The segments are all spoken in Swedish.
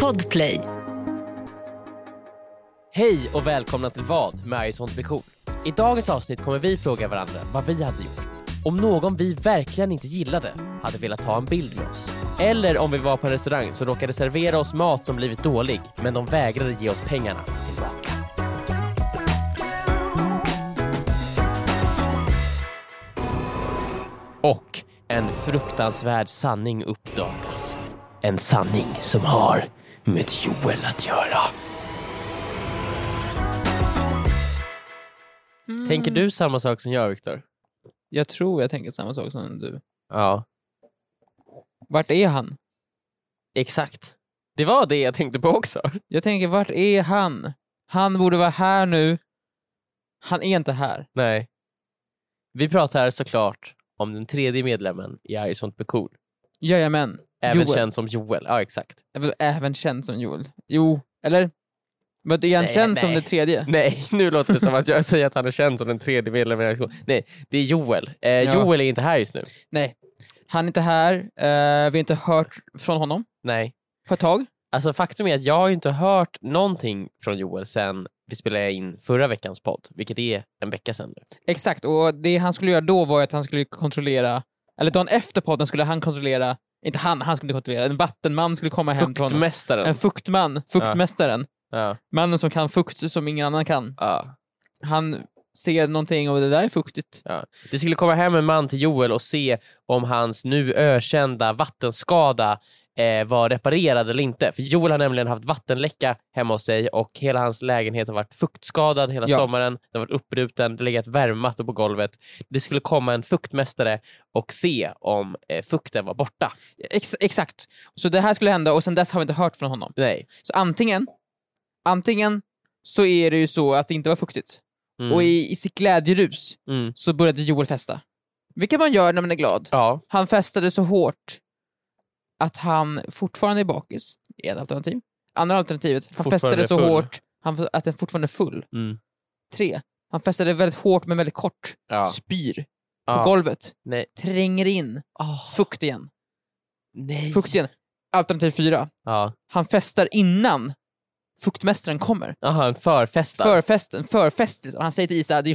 Podplay. Hej och välkomna till vad med Är sånt med cool. I dagens avsnitt kommer vi fråga varandra vad vi hade gjort. Om någon vi verkligen inte gillade hade velat ta en bild med oss. Eller om vi var på en restaurang som råkade servera oss mat som blivit dålig men de vägrade ge oss pengarna tillbaka. Och en fruktansvärd sanning uppdagas. En sanning som har med Joel att göra. Tänker Mm. du samma sak som jag, Viktor? Jag tror jag tänker samma sak som du. Ja. Vart är han? Exakt. Det var det jag tänkte på också. Jag tänker, vart är han? Han borde vara här nu. Han är inte här. Nej. Vi pratar såklart om den tredje medlemmen i I sånt blir cool. Jajamän. Även Joel. känd som Joel. Ja, exakt. Jag vill även känd som Joel. Jo, eller? Men är han Nej, känd som nej. den tredje? Nej, nu låter det som att jag säger att han är känd som den tredje medlemmen i I sånt Nej, det är Joel. Eh, Ja. Joel är inte här just nu. Nej. Han är inte här. Eh, vi har inte hört från honom Nej. på ett tag. Alltså faktum är att jag har inte hört någonting från Joel sen vi spelade in förra veckans podd, vilket är en vecka sedan nu. Exakt, och det han skulle göra då var ju att han skulle kontrollera, eller dagen efter podden skulle han kontrollera, inte han, han skulle kontrollera, en vattenman skulle komma hem till honom. Fuktmästaren. En fuktman, fuktmästaren. ja. Mannen som kan fukt som ingen annan kan. Ja. Han ser någonting och det där är fuktigt. Det skulle komma hem en man till Joel och se om hans nu ökända vattenskada eh, var reparerad eller inte. För Joel har nämligen haft vattenläcka hemma hos sig och hela hans lägenhet har varit fuktskadad hela Ja. sommaren. Den har varit uppbruten, det har legat värmemattor på golvet. Det skulle komma en fuktmästare och se om eh, fukten var borta. Ex- exakt. Så det här skulle hända och sen dess har vi inte hört från honom. Nej. Så antingen, antingen så är det ju så att det inte var fuktigt. Mm. Och i, i sitt glädjerus Mm. så började Joel festa. Vilket man gör när man är glad. Ja. Han festade så hårt att han fortfarande är bakis, är ett alternativ. Andra alternativet, han Fortfarande festade så full. hårt han, att han fortfarande är full. Mm. Tre, han festade väldigt hårt men väldigt kort. ja. Spyr på ja. golvet. Nej. Tränger in fukt igen. Nej. Fukt igen. Alternativ fyra, Ja. han festar innan fuktmästaren kommer. Aha, en förfestad. Förfesten, förfest. liksom. Han säger till Isa, det är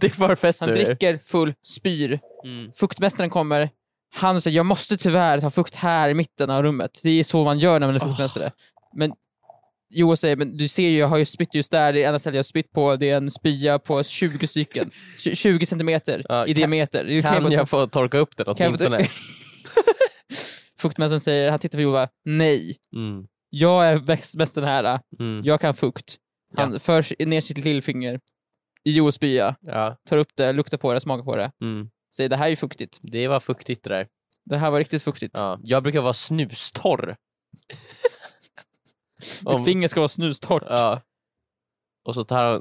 Det är förfest Han nu. dricker, full, spyr. Mm. Fuktmästaren kommer. Han säger, jag måste tyvärr ta fukt här i mitten av rummet. Det är så man gör när man är Oh. fuktmästare. Men Joel säger, men du ser ju, jag har ju spytt just där, det enda stället jag har spytt på, det är en spya på 20 stycken. Tju- 20 centimeter Ja, i kan- diameter. Du Kan bara ta jag få torka upp den Kan jag få- åtminstone? Fuktmästaren säger, han tittar på Joel och bara, nej, Mm. jag är bäst- bäst den här, Mm. jag kan fukt. Han för ner sitt lillfinger i Joels spya, Ja. tar upp det, luktar på det, smakar på det, Mm. säger det här är ju fuktigt. Det var fuktigt det där. Det här var riktigt fuktigt. Ja. Jag brukar vara snustorr. Mitt finger ska vara snustort. ja. Och så tar han...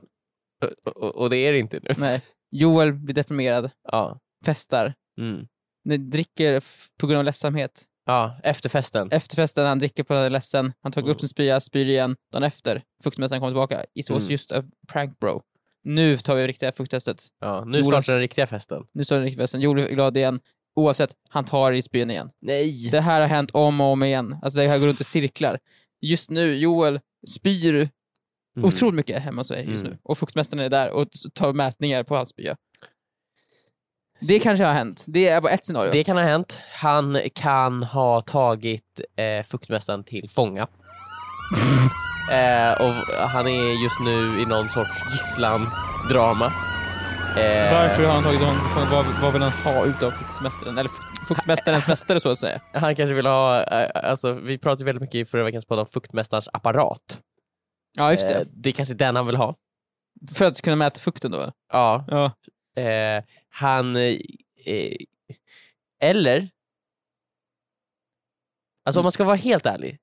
Och, och, och det är det inte nu. Nej. Joel blir deprimerad, Ja. festar, Mm. Ni dricker f- på grund av ledsamhet. ja, efter festen. Efter festen, han dricker på grund av ledsen, han tar Mm. upp sin spya, spyr igen. Dagen efter, fuktmästaren kommer tillbaka. It was Mm. just a prank bro. Nu tar vi det riktiga fukttestet. Ja, nu Jonas- startar den riktiga festen. Nu står den riktiga festen. Joel blir glad igen. Oavsett, han tar i spyn igen. Nej! Det här har hänt om och om igen. Alltså det här går runt i cirklar. Just nu, Joel spyr otroligt mycket hemma hos mig just Mm. nu. Och fuktmästaren är där och s- tar mätningar på hans spya. Det kanske har hänt. Det är bara ett scenario. Det kan ha hänt. Han kan ha tagit eh, fuktmästaren till fånga. eh, och han är just nu i någon sorts gisslan-drama. Eh, har han tagit honom från vad, vad vill han ha utav fuktmästaren? Eller fuk- fuktmästarens mästare så att säga. Han kanske vill ha, eh, alltså vi pratade väldigt mycket i förra veckans podd om fuktmästarens apparat. Ja, just Eh, det. det är kanske den han vill ha. För att kunna mäta fukten då? Ja. Ja. Eh, han, eh, eh, eller, alltså om Mm. man ska vara helt ärlig,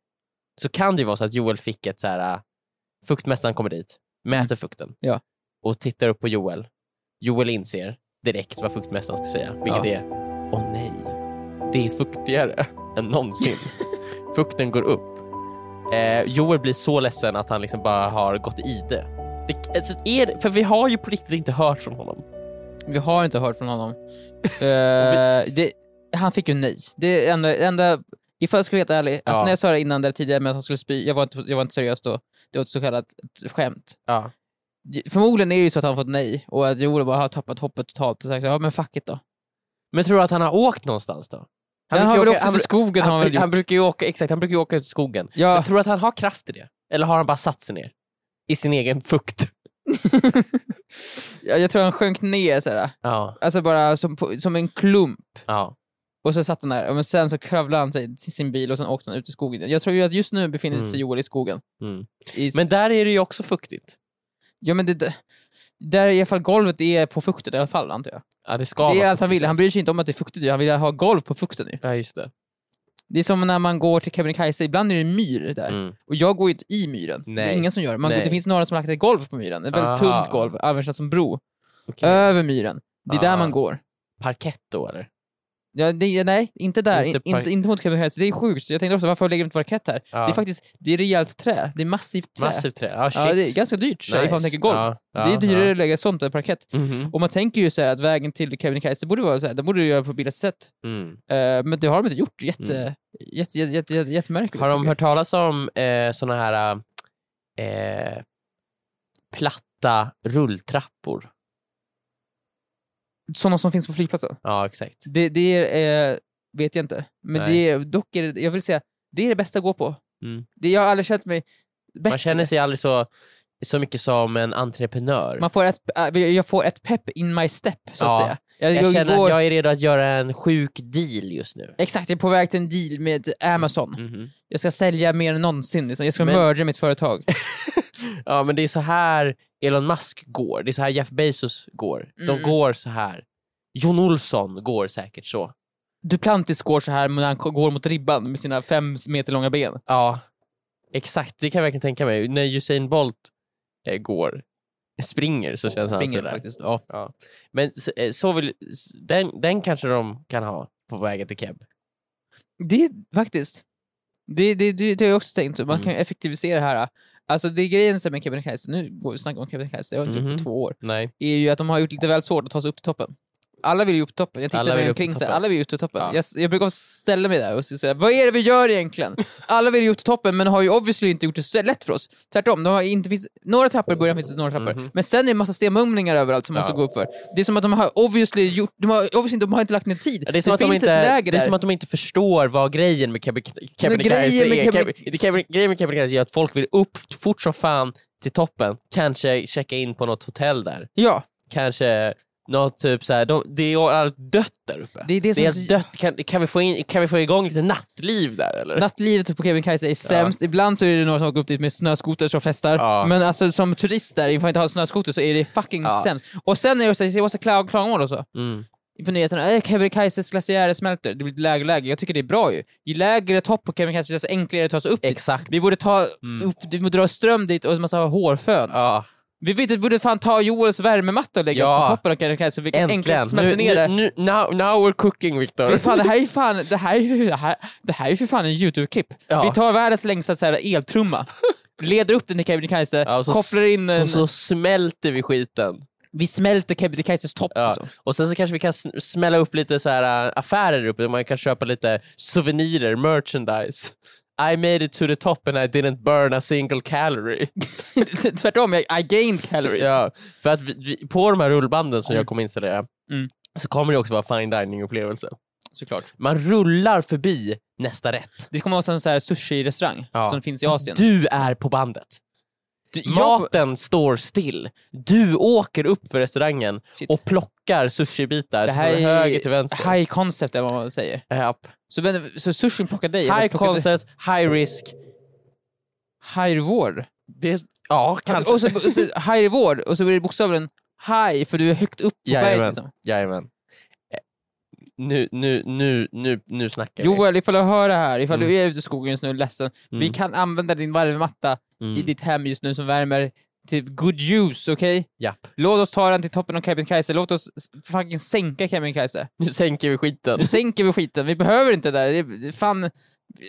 så kan det ju vara så att Joel fick ett så här, eh, fuktmästaren kommer dit, mäter fukten Mm. Ja. och tittar upp på Joel. Joel inser direkt vad fuktmästaren ska säga, vilket Ja. är, åh nej, det är fuktigare än någonsin. Fukten går upp. Eh, Joel blir så ledsen att han liksom bara har gått i det. det alltså, är, det- för vi har ju på riktigt inte hört från honom. Vi har inte hört från honom. Eh, det, han fick ju nej. Det är enda, enda Ifall jag skulle vara helt ärlig, alltså Ja. när jag sa det innan där tidigare med att han skulle spy, jag var inte, jag var inte seriös då. Det var ett så kallat skämt. Ja. Förmodligen är det ju så att han fått nej och att Joel bara har tappat hoppet totalt och sagt ja men fuck it då. Men tror du att han har åkt någonstans då? Han, brukar har ju väl åka- åkt ut i skogen har han, han väl han, gjort. brukar ju åka, exakt, han brukar ju åka ut i skogen. Men Ja, tror du att han har kraft i det? Eller har han bara satt sig ner? I sin egen fukt? jag jag tror han sjönk ner såhär. Ja. Alltså bara som, på- som en klump. ja. Och så satt han där, men sen så kravlade han sig till sin bil och sen åkte han ut i skogen. Jag tror ju att just nu befinner sig Mm. Joel i skogen. Mm. I, Men där är det ju också fuktigt. ja men det- det, där är i alla fall golvet är på fukten i alla fall antar jag. Ja, det ska det är vara allt han vill. Han bryr sig inte om att det är fuktigt ju. han vill ha golv på fukten ju. fuktigt. Ja, just det. Det är som när man går till Kebnekaise, ibland är det myr där. Mm. Och jag går ju inte i myren. Det Nej. är ingen som gör det. man, Nej. det. finns några som har lagt ett golv på myren, ett väldigt Aha. tunt golv, används som bro. Okej. Över myren. Det är där Ah. man går. Parkett då eller? Ja, det, nej, inte där. Inte Inte, park- inte, inte mot Kebnekaise. Det är sjukt. Jag tänkte också, varför lägger de inte parkett här? Ja. Det är faktiskt det är rejält trä. Det är massivt trä. Massivt trä. Ja, shit. ja, det är ganska dyrt så här, ifall man tänker golv. Ja, ja, det är dyrare Ja. att lägga sånt än parkett. Mhm. Och man tänker ju så här att vägen till Kebnekaise borde vara så här, det borde du göra på billigaste sätt. Mm. Eh, men det har de inte gjort. Jätte, Mm. jätte, jätte, jätte, jätte, jättemärkligt. Har de tycker jag. hört talas om eh, såna här eh, platta rulltrappor? Sådana som finns på flygplatsen? Ja, exakt. Det, det är, eh, vet jag inte. Men Nej. det är, dock är det, jag vill säga, det är det bästa att gå på. Mm. Det, jag har aldrig känt mig bättre. Man känner sig aldrig så, så mycket som en entreprenör. Man får ett, äh, jag får ett pepp in my step, så att Ja. säga. Jag, jag jag, känner går, att jag är redo att göra en sjuk deal just nu. Exakt, jag är på väg till en deal med Amazon. Mm-hmm. Jag ska sälja mer än någonsin, liksom. jag ska Mm. Men- mörda mitt företag. Ja, men det är så här Elon Musk går, det är så här Jeff Bezos går. De Mm. går så här. Jon Olsson går säkert så. Duplantis går så här när han går mot ribban med sina fem meter långa ben. Ja, exakt. Det kan jag verkligen tänka mig. När Usain Bolt eh, går, springer, så känns han Springer sådär. faktiskt. Ja. Ja. Men så, eh, så vill, s- den, den kanske de kan ha på vägen till Keb. Det är- faktiskt. Det, det, det, det har jag också tänkt, man kan ju Mm. effektivisera det här. Alltså det är grejen så här med Kebnekaise, nu går vi snacka om Kebnekaise, jag har inte gjort Mhm. på två år, Nej. är ju att de har gjort lite väl svårt att ta sig upp till toppen. Alla vill ju upp till toppen, jag tittar Alla vill mig upp till omkring så här, toppen. alla vill ju upp till toppen. Ja. Jag, jag brukar ställa mig där och säga vad är det vi gör egentligen? Alla vill ju upp till toppen men har ju obviously inte gjort det så lätt för oss. Tvärtom, de har inte finns, några trappor i början finns det några trappor, Mhm. men sen är det en massa stenmumlingar överallt som man Ja. ska gå upp för. Det är som att de har obviously, gjort, de har, obviously inte- de har inte lagt ner tid. Ja, Det är, som att de finns ett inte, läger det är där. som att de inte förstår vad grejen med Kebne- Kebnekaise grejen med är. Kebne- Keb- det Kebne- Grejen med Kebnekaise är att folk vill upp fort som fan till toppen, kanske checka in på något hotell där, Ja. kanske något typ såhär, de, det är allt dött där uppe. Det är det som- helt dött. Kan, kan, vi få in, kan vi få igång lite nattliv där eller? Nattlivet på Kebnekaise är sämst. Ibland så är det några som åker upp dit med snöskoter som festar. Ja. Men alltså som turist där, ifall man inte har snöskoter så är det fucking Ja. sämst. Och sen är det också, jag ser också klag- klagomål och så. Mm. På nyheterna, "Eh, Kebnekaises glaciärer smälter. Det blir lägre och lägre. Jag tycker det är bra ju. Ju lägre topp på Kebnekaise desto enklare att ta sig upp dit. Exakt. Vi borde ta Mm. upp, vi borde dra ström dit och en massa hårfön. Ja, Vi vet, vi borde fan ta Joels värmematta och lägga Ja. upp på toppen av Kebnekaise så vi kan äntligen. enklast smälta ner Nu, det. nu, now, now we're cooking Det, är Victor. fan, det här är ju fan, det här är ju, det här, det här är ju för fan en YouTube-klipp. Ja. Vi tar världens längsta så här, eltrumma, leder upp den till Kebnekaise, Ja, och så- kopplar in en, Och så smälter vi skiten. vi smälter Kebnekaises topp. Ja. Alltså. Och sen så kanske vi kan sn- smälla upp lite så här äh, affärer där uppe, där man kan köpa lite souvenirer, merchandise. I made it to the top and I didn't burn a single calorie. liksom. Tvärtom, jag, I gained calories. ja, för att vi, vi, på de här rullbanden som jag kommer installera Mm. så kommer det också vara fine dining upplevelse. Såklart. Man rullar förbi nästa rätt. Det kommer vara som en så här sushi-restaurang Ja. som finns i Asien. Du är på bandet. Maten står still. Du åker upp för restaurangen Shit. och plockar sushibitar det här från är höger till vänster. high concept är vad man säger. Japp. Så, men, så sushin plockar dig? eller High plockar dig- concept, high risk. High reward? Det, ja, kanske. Och så, och så, high reward, och så blir det bokstavligen high för du är högt upp på berget. Jajamän. Liksom. Jajamän. Eh, Nu, nu, nu, nu, nu snackar vi. Joel, ifall du hör det här, ifall Mm. du är ute i skogen just nu, ledsen. Vi Mm. kan använda din värmematta Mm. i ditt hem just nu som värmer till good use, okej? Japp. Låt oss ta den till toppen av Kebnekaise, låt oss s- fucking sänka Kebnekaise. Nu sänker vi skiten. Nu sänker vi skiten, vi behöver inte det där. Det, är- fan,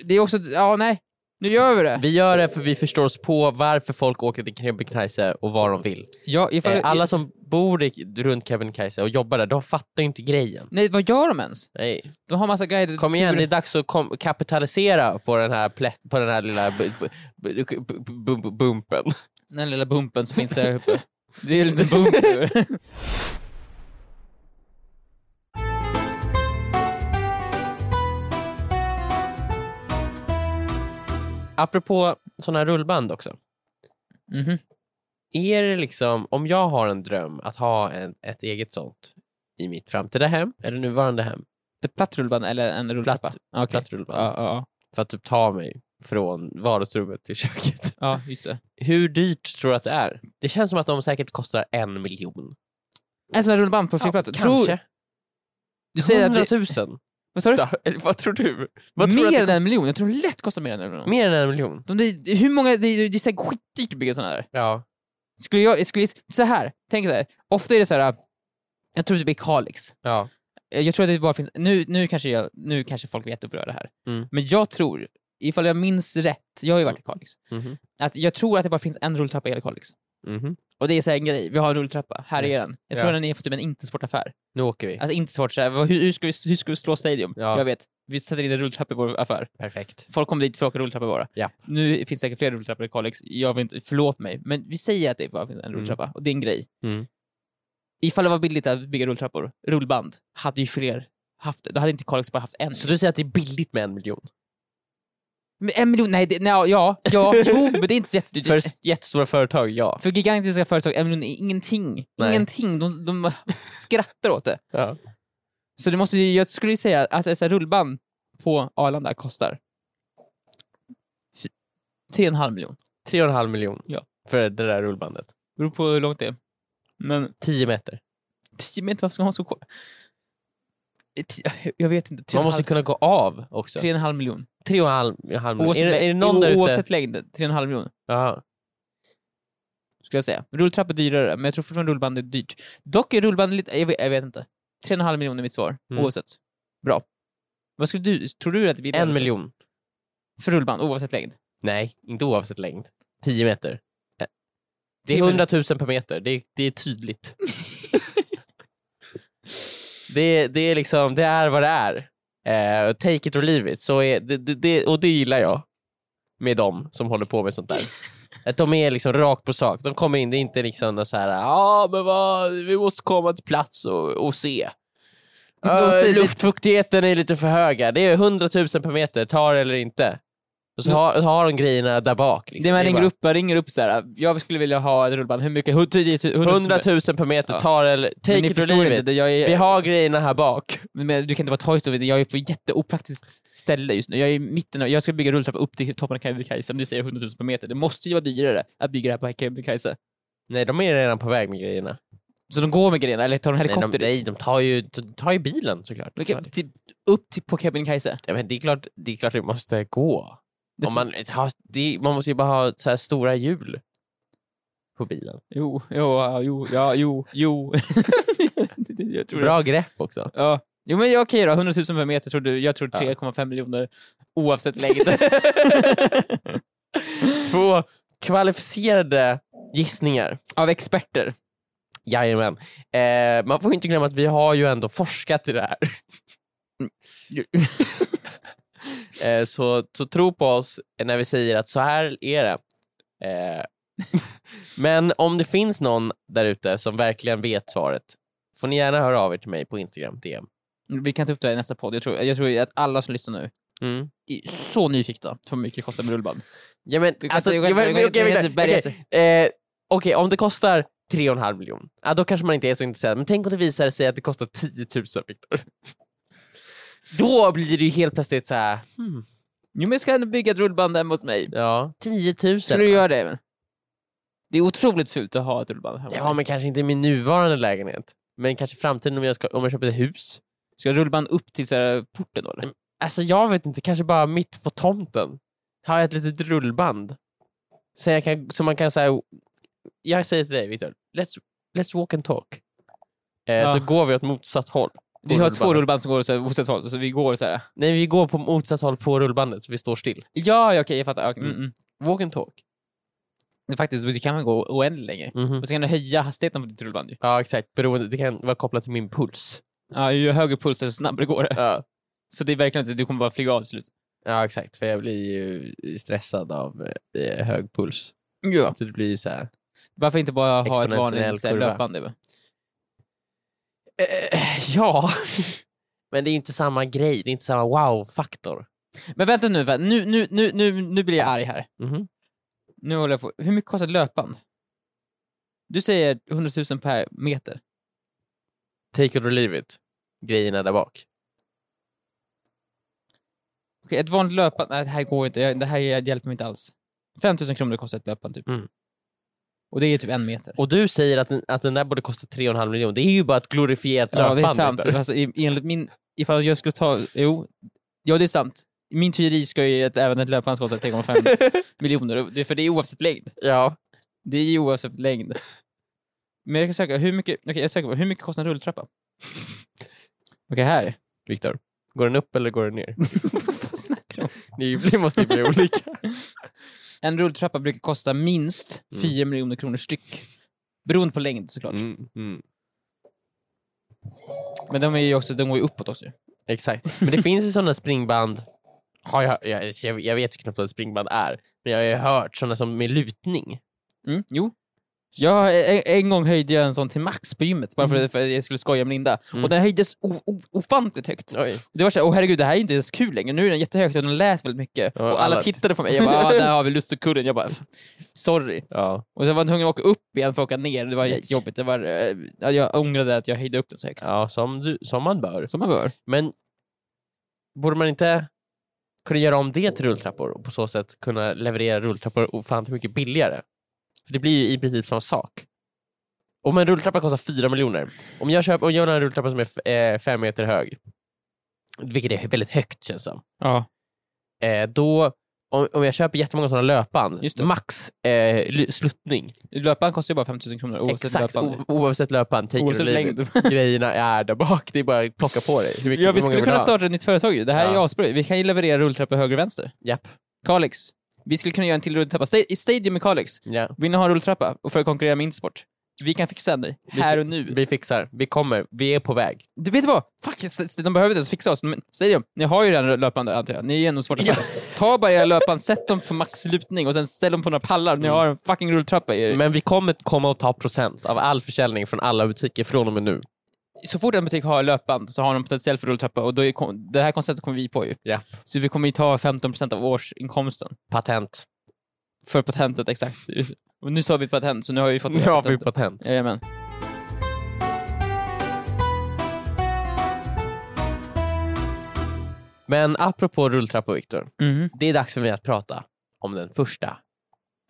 det är också, ja nej. Nu gör vi det! Vi gör det för vi förstår oss på varför folk åker till Kebnekaise och vad de vill. Ja, ifall, Eh, Alla som bor i, runt Kebnekaise och jobbar där, de fattar ju inte grejen. Nej, vad gör de ens? Nej. De har massa guided Kom igen, det är turer. dags att kom, kapitalisera på den här, plätt, på den här lilla bu, bu, bu, bu, bu, bumpen. Den lilla bumpen som finns där uppe. Det är lite bump Apropå sådana här rullband också. Mhm. Är det liksom, om jag har en dröm att ha en, ett eget sånt i mitt framtida hem, eller nuvarande hem, Ett platt rullband eller en rulltrappa? Platt. Ja, okej. platt rullband, Ja, ja, för att typ ta mig från vardagsrummet till köket. ja, just det. Hur dyrt tror du att det är? Det känns som att de säkert kostar en miljon. En sån här rullband på flygplatsen? Tror, Kanske. du säger att det, 100 000. vad sa du? Eller Vad tror du? Vad tror du Mer att än det en miljon? Jag tror det lätt kostar mer än en miljon. kom- Mer än en miljon? De, det, det- hur många, det, det är säkert skitdyrt att bygga såna här. Ja. Skulle jag, skulle, så här, tänk så här. Ofta är det så här. äh, jag tror typ i Kalix. ja. Eh, Jag tror att det bara finns, nu, nu, kanske, jag, nu kanske folk blir jätteupprörda här. Mm. Men jag tror, ifall jag minns rätt, jag har ju varit i Kalix, Mhm. att jag tror att det bara finns en rulltrappa i hela Kalix. Mhm. Och det är så här en grej, vi har en rulltrappa, här är den. Jag tror Ja. den är på typ en inte sportaffär. Nu åker vi. Alltså inte svårt såhär, vad- hur, hur, ska vi, hur ska vi slå stadium? Ja. Jag vet, vi sätter in en rulltrappa i vår affär. Perfekt. Folk kommer dit för att åka rulltrappa bara. Ja. Nu finns det säkert fler rulltrappor i Kalix, jag vill inte, förlåt mig, men vi säger att det bara finns en rulltrappa, och det är en grej. Mm. Ifall det var billigt att bygga rulltrappor, rullband, hade ju fler haft det. Då hade inte Kalix bara haft en. Så du säger att det är billigt med en miljon? Men en miljon, nej, det, nej ja, ja, jo, men det är inte så jättedyrt. För s- jättestora företag, ja. För gigantiska företag, en miljon är ingenting. Nej. Ingenting, de, de skrattar åt det. ja. Så det måste ju, jag skulle ju säga att ett så här rullband på Arlanda kostar f- tre och en halv miljon. Tre och en halv miljon Ja. för det där rullbandet. Beror på hur långt det är. Men 10 meter. 10 meter, varför ska man ha så kort? Jag vet inte. Tre Man och en måste halv- kunna gå av också. tre och en halv miljon. Typ Tre och en halv, en halv miljon. Är, det- är det längd- någon där ute? oavsett längd, tre och en halv miljon Jaha. skulle jag säga. Rulltrappa är dyrare, men jag tror fortfarande rullband är dyrt. Dock är rullband lite, jag vet, jag vet inte. Tre och en halv miljon är mitt svar, Mm. oavsett. Bra. Vad skulle du, tror du att det blir En miljon. För rullband, oavsett längd? Nej, inte oavsett längd. 10 meter. Eh, Det är 10 100 000 per meter, det är, det är tydligt. det, är- det är liksom, det är vad det är. Eh, take it or leave it. Så är, det, det, det, och det gillar jag med dem som håller på med sånt där. Att de är liksom rakt på sak. De kommer in, det är inte liksom något så här, ja men vad, vi måste komma till plats och, och se. De Eh, säger det- luftfuktigheten är lite för höga. Det är 100 000 per meter, ta det eller inte. Och så har, har de grejerna där bak. Liksom. Det man är ringer bara, upp, man ringer upp så här. jag skulle vilja ha ett rullband, hur mycket? 100 000? 100 000 per meter, Ja. ta det eller... Take Men ni it or förstår leave inte, it. det- jag Vi är, har grejerna här bak. men du kan inte vara Toy Story, jag är på ett jätteopraktiskt ställe just nu. Jag är i mitten av, jag ska bygga rulltrappa upp till toppen av Kebnekaise, om du säger 100 000 per meter. Det måste ju vara dyrare att bygga det här på Kebnekaise. Nej, de är redan på väg med grejerna. Så de går med grejerna, eller tar de Nej, helikopter de, dit? nej, de tar ju, de tar ju bilen såklart. Men kan- till, upp till, på Kebnekaise? Ja, men det är klart det är klart det måste gå. Om man, har, det, man måste ju bara ha så här stora hjul på bilen. Jo, jo, ja, jo, ja, jo, jo. jag tror det. Bra grepp också. Ja. Jo men ja, okej då, 100 000 per meter tror du, jag tror Ja. 3,5 miljoner oavsett längd. Två kvalificerade gissningar. Av experter. Jajamän. Eh, man får ju inte glömma att vi har ju ändå forskat i det här. eh, så, så tro på oss när vi säger att så här är det. Eh, men om det finns någon där ute som verkligen vet svaret får ni gärna höra av er till mig på Instagram DM. Vi kan ta upp det här i nästa podd. Jag tror, jag tror att alla som lyssnar nu Mm. är så nyfikna på hur mycket det kostar med rullband. Ja, men, Du kan alltså, inte- ja, du kan men- inte- du okej, kan Viktor, inte bärga okej. Eh, Okej, om det kostar 3,5 miljoner, ah, då kanske man inte är så intresserad. Men tänk om det visar sig att det kostar 10 000, Viktor. Då blir det ju helt plötsligt så här, hmm, Jo men jag ska ändå bygga ett rullband hemma hos mig. ja, 10 000. Skulle du göra det? Emil? Det är otroligt fult att ha ett rullband hemma hos Ja, mig. men kanske inte i min nuvarande lägenhet. Men kanske i framtiden om jag, ska, om jag köper ett hus. Ska jag rullband upp till så här porten då eller? Alltså jag vet inte, kanske bara mitt på tomten. Har jag ett litet rullband. Så, jag kan, så man kan säga, jag säger till dig Viktor, let's, let's walk and talk. Eh, Ja. Så går vi åt motsatt håll. Vi har två rullbandet. rullband som går så här oavsett håll, så vi går så här. Nej, vi går på motsatt håll på rullbandet, så vi står still. Ja, ja, okej, jag fattar. Okay. Mm, mm. Walk and talk. Det är faktiskt, du kan man gå oändligt längre. Mhm. Och så kan du höja hastigheten på ditt rullband ju. Ja, exakt. Beroende, det kan vara kopplat till min puls. Ja, ju högre puls desto snabbare går det. Ja, Så det är verkligen inte, du kommer bara flyga av till slut. ja exakt. För jag blir ju stressad av eh, hög puls. Ja. Så det blir ju så här... Varför inte bara ha ett Exponentiell vanligt så här kurva. löpband? över? Eh, ja. Men det är inte samma grej, det är inte samma wow-faktor. Men vänta nu, vä- nu, nu, nu, nu, nu blir jag arg här. Mhm. Nu håller jag på. Hur mycket kostar ett löpband? Du säger 100 000 per meter. Take it or leave it. Grejerna där bak. Okej, ett vanligt löpband, nej det här går inte, Jag- det här hjälper mig inte alls. 5 000 kronor kostar ett löpband typ. Mm. Och det är typ en meter. Och du säger att den, att den där borde kosta 3,5 miljoner. Det är ju bara ett glorifierat Ja, löpband. det är sant. Viktor. Alltså, i- enligt min, ifall jag skulle ta, jo, ja det är sant. Min teori ska ju att även ett löpband ska kosta 3,5 miljoner, Och det är för det är oavsett längd. Ja. Det är ju oavsett längd. Men jag kan söka, hur mycket, okej jag söker på, hur mycket kostar en rulltrappa? Okej, här. Viktor, går den upp eller går den ner? Vad snackar du om? Ni blir- måste ju bli olika. En rulltrappa brukar kosta minst Mm. 4 miljoner kronor styck. Beroende på längd såklart. Mm, mm. Men de, är ju också, de går ju uppåt också. Exakt. Men det finns ju sådana springband. Har jag, jag, jag, jag vet ju knappt vad ett springband är, men jag har ju hört sådana som med lutning. Mm, jo. Jag, eh, en, en gång höjde jag en sån till max på gymmet, bara för, för att jag skulle skoja med Linda. Mm. Och den höjdes o, o, ofantligt högt. Oj. Det var såhär, åh herregud, det här är inte ens kul längre. Nu är den jättehögt och den lät väldigt mycket. Ja, och alla alla- tittade på mig. Jag bara, ah, där har vi lussekudden. Jag bara, sorry. Ja. Och sen var jag tvungen att åka upp igen för att åka ner. Det var Nej. jättejobbigt. Det var, eh, ja, jag ångrade att jag höjde upp den så högt. ja, som, du, som man bör. Som man bör. Men borde man inte kunna göra om det till rulltrappor och på så sätt kunna leverera rulltrappor ofantligt mycket billigare? För det blir ju i princip samma sak. Om en rulltrappa kostar 4 miljoner, om jag köper om jag vill ha en rulltrappa som är 5 eh, fem meter hög, vilket är väldigt högt känns det som, Ja. eh, då, om, om jag köper jättemånga sådana löpband, Just det. max eh, ly- sluttning, Löparen kostar ju bara 5000 kronor oavsett exakt löpband. o- oavsett löpband, take Oavsett oavsett längd. grejerna är där bak, det är bara att plocka på dig. Hur mycket, Ja, hur många vi skulle vill du kunna ha? starta ett nytt företag ju. Det här är ju Ja. asbra. Vi kan ju leverera rulltrappor höger och vänster. Japp. Kalix. Vi skulle kunna göra en till rulltrappa. Sta- I Stadium i Kalix. Ja. Vill ni ha en rulltrappa och för att konkurrera med Intersport? Vi kan fixa en dig. Här och nu. Vi fixar, vi kommer, vi är på väg. Du vet vad? Fuck, s- s- de behöver inte ens fixa oss. Men Stadium, ni har ju redan löpande antar jag. Ni är ju ändå smarta. Ja. Ta bara era löpband, sätt dem på maxlutning och sen ställ dem på några pallar. Ni har en fucking rulltrappa i er. Mm. Men vi kommer komma och ta procent av all försäljning från alla butiker från och med nu. så fort en butik har löpband så har de potentiell för rulltrappa och då är, kon- det här konceptet kommer vi på ju. Ja. Så vi kommer ju ta 15% av årsinkomsten Patent. för patentet exakt. Och nu sa vi patent, så nu har vi fått det Nu här har vi patentet. patent. Jajamän. Men apropå rulltrappor, Viktor. Mhm. Det är dags för mig att prata om den första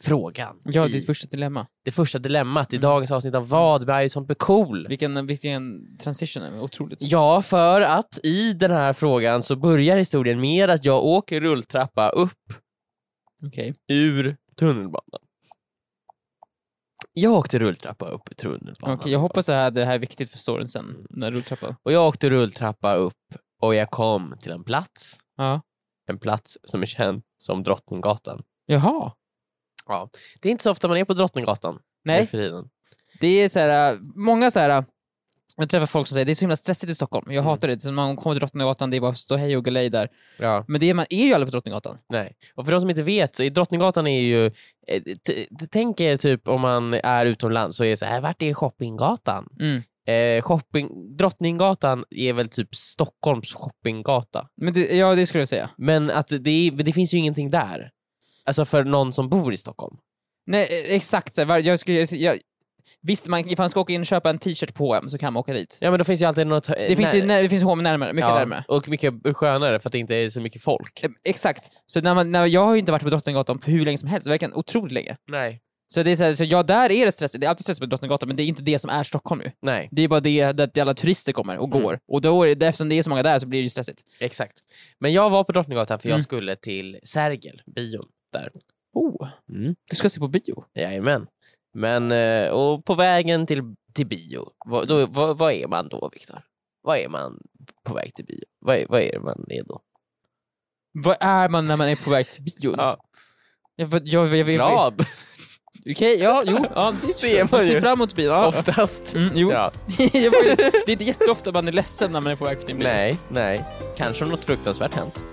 frågan. Ja, i ditt första dilemma. det första dilemmat i Mm. dagens avsnitt av Vad med Arison blir cool? Vilken, vilken transition, är det? otroligt. Ja, för att i den här frågan så börjar historien med att jag åker rulltrappa upp Okej. ur tunnelbanan. Jag åkte rulltrappa upp i tunnelbanan. Okej, jag hoppas det här, det här är viktigt för storyn sen, den här rulltrappan. Och jag åkte rulltrappa upp och jag kom till en plats. Ja. En plats som är känd som Drottninggatan. Jaha. Det är inte så ofta man är på Drottninggatan nu Nej, för tiden. det är så här, äh, många så här. äh, Jag träffar folk som säger det är så himla stressigt i Stockholm. Jag Mm. hatar det. Så när man kommer till Drottninggatan, det är bara stå hej och galej där. Ja. Men det är, man är ju aldrig på Drottninggatan. Nej. Och för de som inte vet, så är Drottninggatan är ju... eh, t- t- Tänk er typ om man är utomlands så är det så här, vart är shoppinggatan? Mm. Eh, shopping, Drottninggatan är väl typ Stockholms shoppinggata. Men det, ja, det skulle jag säga. Men att det, är, men det finns ju ingenting där. Alltså för någon som bor i Stockholm. Nej, eh, exakt. Så här, var- jag skulle, jag, jag, visst, man, ifall man ska åka in och köpa en t-shirt på H&M så kan man åka dit. Ja men då finns ju alltid något... Det finns, ju, när, det finns H&M närmare, mycket ja, närmare. Och mycket skönare för att det inte är så mycket folk. Eh, Exakt. Så när man, när, jag har ju inte varit på Drottninggatan på hur länge som helst, verkligen otroligt länge. Nej. Så, det är så, här, så ja, där är det stressigt. Det är alltid stressigt på Drottninggatan, men det är inte det som är Stockholm nu. Nej, Det är bara det att alla turister kommer och Mm. går. Och då är det, eftersom det är så många där så blir det ju stressigt. exakt. Men jag var på Drottninggatan för jag Mm. skulle till Sergel, bion. Oh. Mm. Du ska se på bio? Jajamän. Men, eh, och på vägen till, till bio, vad, då, vad, vad är man då Viktor? Vad är man på väg till bio? Vad är, vad är det man är då? Vad är man när man är på väg till bion? Ja. Jag, jag, jag, jag, jag, Glad, Okej, ja, jo. Ja, det är man ju. ser fram emot bilen. Ja. oftast. Mm, jo. Ja. Jag får ju- det är inte jätteofta man är ledsen när man är på väg till en bil. Nej, nej. Kanske om något fruktansvärt hänt.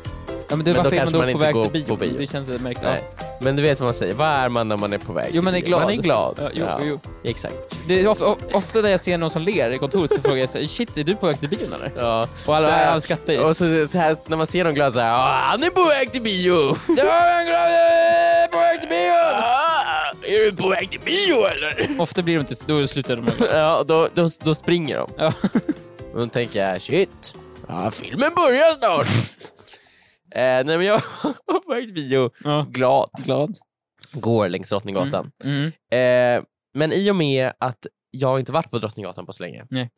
Ja, men det, Men då varför är kanske man då man inte på väg går till bio? på bio. Det känns lite märkligt. Nej. Ja. Men du vet vad man säger, vad är man när man är på väg? Jo, man är till bio? Man glad. är glad. Ja, jo, Ja, jo. Exakt. Det är of, of, ofta när jag ser någon som ler i kontoret så frågar jag så här, shit, är du på väg till bion eller? Ja. Och alla, alltså Så här- alla skrattar ju. Och så, så här, när man ser någon glad så här, "Ah, han är på väg till bio! Jag är glad, jag är på väg till bion! Ah, är du på väg till bio eller? Ofta blir de inte, då slutar de med Ja, då, då, då springer de. Ja. Och då tänker jag, shit, ja, filmen börjar snart. eh, nej men jag var på väg till bio, ja. glad, Glad. går längs Drottninggatan. Mm. Eh, men i och med att jag inte varit på Drottninggatan på så länge, Nej.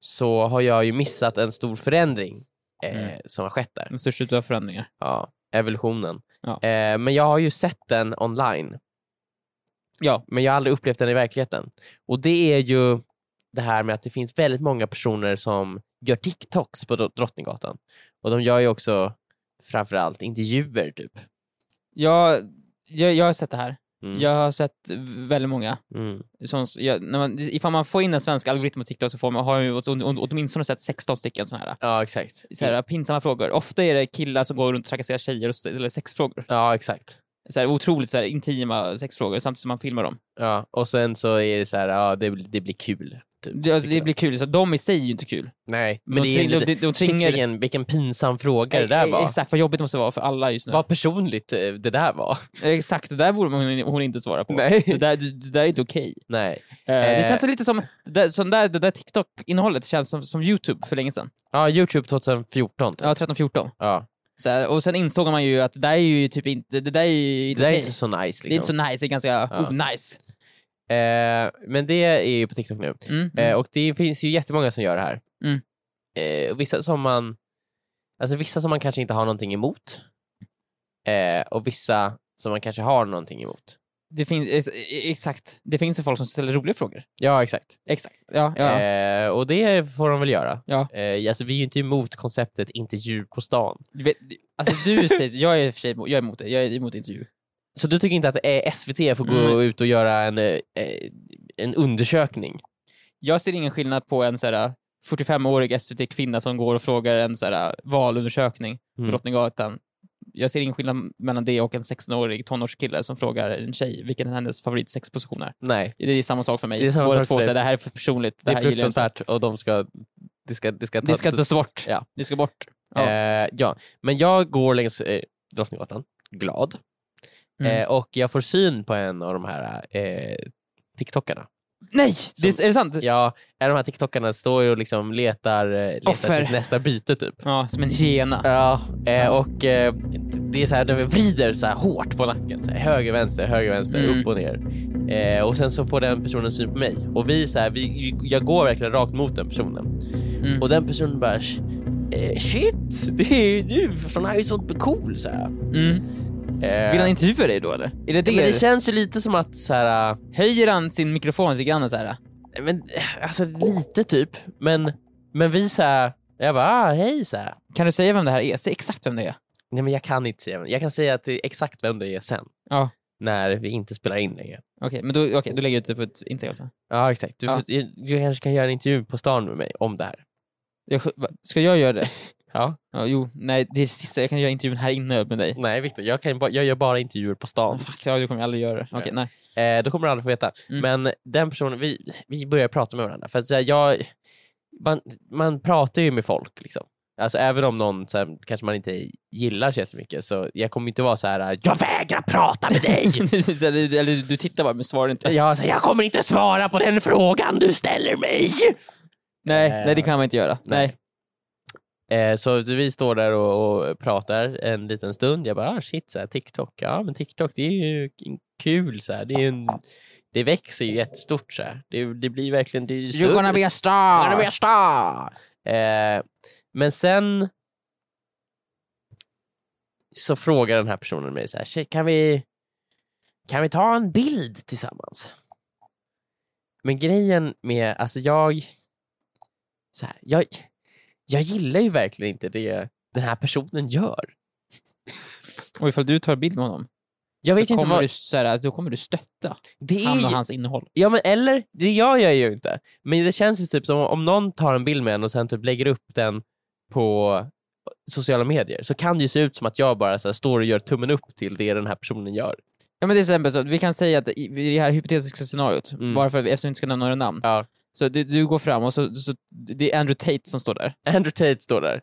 så har jag ju missat en stor förändring eh, Mm. som har skett där. Den största utav förändringar. Ja, evolutionen. Ja. Eh, men jag har ju sett den online. Ja. men jag har aldrig upplevt den i verkligheten. Och det är ju det här med att det finns väldigt många personer som gör TikToks på Dro- Drottninggatan. Och de gör ju också framförallt intervjuer typ. Jag, jag, jag har sett det här. Mm. Jag har sett v- väldigt många. Mm. Sån, jag, när man, ifall man får in en svensk algoritm på TikTok så får man, har jag ju åt- åt- åtminstone sett 16 stycken såna här, Ja, exakt. så här pinsamma frågor. Ofta är det killar som går runt och trakasserar tjejer och ställer sexfrågor. Ja, exakt. Så här, otroligt så här, intima sexfrågor samtidigt som man filmar dem. Ja, och sen så är det så här, ja, det, blir- det blir kul. Typ, Det, alltså, tycker det de. blir kul, så de i sig är ju inte kul. Nej, men de det är ju tving- de- lite... de- de Shit, tvingar- vilken, vilken pinsam fråga det där Eh, var. Exakt, vad jobbigt det måste vara för alla just nu. Vad personligt eh, det där var. Exakt, det där borde man, hon inte svara på. Det, Nej. där, det, det där är inte okej. Nej. Eh, Det Eh. känns så lite som, det där, sån där, det där TikTok-innehållet känns som, som YouTube för länge sedan. Ja, Youtube 2014. Typ. Ja, 13-14. Ja. Så här, och sen insåg man ju att det där är ju typ inte, det där är ju Det inte där är okej. inte så nice liksom. Det är inte så nice, det är ganska Ja. nice. Eh, men det är ju på TikTok nu. Mm. Eh, och det finns ju jättemånga som gör det här. Mm. Eh, och vissa som man Alltså vissa som man kanske inte har någonting emot. Eh, och vissa som man kanske har någonting emot. Det finns, ex- e- exakt. Det finns ju folk som ställer roliga frågor. Ja, exakt. Exakt. Ja, ja. Eh, och det får de väl göra. Ja. Eh, alltså vi är ju inte emot konceptet intervju på stan. Du vet, alltså du säger, jag är i och för sig emot- jag är emot det, jag är emot intervju. Så du tycker inte att eh, SVT får gå Mm. ut och göra en, eh, eh, en undersökning? Jag ser ingen skillnad på en såhär 45-årig SVT-kvinna som går och frågar en såhär valundersökning Mm. på Drottninggatan. Jag ser ingen skillnad mellan det och en 16-årig tonårskille som frågar en tjej vilken hennes favoritsexposition är. Nej, Det är samma sak för mig. Det är samma Båda sak för två dig. säger det här är för personligt, det det, är här gillar jag inte. fruktansvärt och de ska... Det ska, det ska, ta, Det ska tas bort. Ja. Det ska bort. Ja. Eh, ja, men jag går längs eh, Drottninggatan, glad. Mm. Eh, och jag får syn på en av de här eh, TikTokarna. Nej! Det, är det sant? Ja, en av de här TikTokarna står ju och liksom letar, eh, letar Offer. sitt nästa byte typ. Ja, som en hyena. Ja, eh, och eh, det är så här, de vrider så här hårt på nacken. Så här, höger, vänster, höger, vänster, Mm. upp och ner. Eh, och sen så får den personen syn på mig. Och vi så här, vi, jag går verkligen rakt mot den personen. Mm. Och den personen bara, eh, shit, det är ju du från Ison Cool så här. Mm. Eh, Vill han intervjua dig då eller? Är det det? men det känns ju lite som att så här, äh, Höjer han sin mikrofon lite grann så här? men, äh, alltså lite typ, men, men vi så här, jag bara ah, hej så här. Kan du säga vem det här är? Säg exakt vem det är. Nej men jag kan inte säga, jag kan säga att det är exakt vem det är sen. Ja. När vi inte spelar in längre. Okej, men då, okay, du lägger jag ut det på ett Instagram sen. Ja exakt, du, Ja. får- du kanske kan göra en intervju på stan med mig om det här. Jag, va, ska jag göra det? Ja. ja. Mm. Jo, nej det är sista, jag kan göra intervjun här inne med dig. Nej Viktor, jag, kan ju ba- jag gör bara intervjuer på stan. Fuck, ja, du kommer jag aldrig göra det. Okej, Ja. nej. Eh, då kommer du aldrig få veta. Mm. Men den personen, vi, vi börjar prata med varandra. För att så här, jag, man, man pratar ju med folk liksom. Alltså även om någon så här, kanske man inte gillar så jättemycket så jag kommer inte vara så här jag vägrar prata med dig. Så här, du- Eller du tittar bara men svarar inte. jag, så här, jag kommer inte svara på den frågan du ställer mig. Nej, Eh, nej det kan man inte göra. nej. Nej. Eh, så vi står där och, och pratar en liten stund. Jag bara ah, shit, så här, TikTok, ja men TikTok det är ju k- kul så här. Det, är ju en, det växer ju jättestort så här. Det, det blir verkligen det är ju större- a star! Gonna be a star! Eh, men sen så frågar den här personen mig så här, "Tjej, kan vi, kan vi ta en bild tillsammans? Men grejen med, alltså jag, så här, jag, jag gillar ju verkligen inte det den här personen gör. Och ifall du tar bild med honom, Jag vet så inte kommer vad... du, så här, alltså, då kommer du stötta det är han och ju... hans innehåll. Ja men eller, det gör jag ju inte. Men det känns ju typ som om någon tar en bild med en och sen typ lägger upp den på sociala medier så kan det ju se ut som att jag bara så här, står och gör tummen upp till det den här personen gör. Ja men till exempel, så, att vi kan säga att i i det här hypotetiska scenariot, Mm. bara för att vi, eftersom vi inte ska nämna några namn, Ja. så du, du går fram och så, så, det är Andrew Tate som står där. Andrew Tate står där.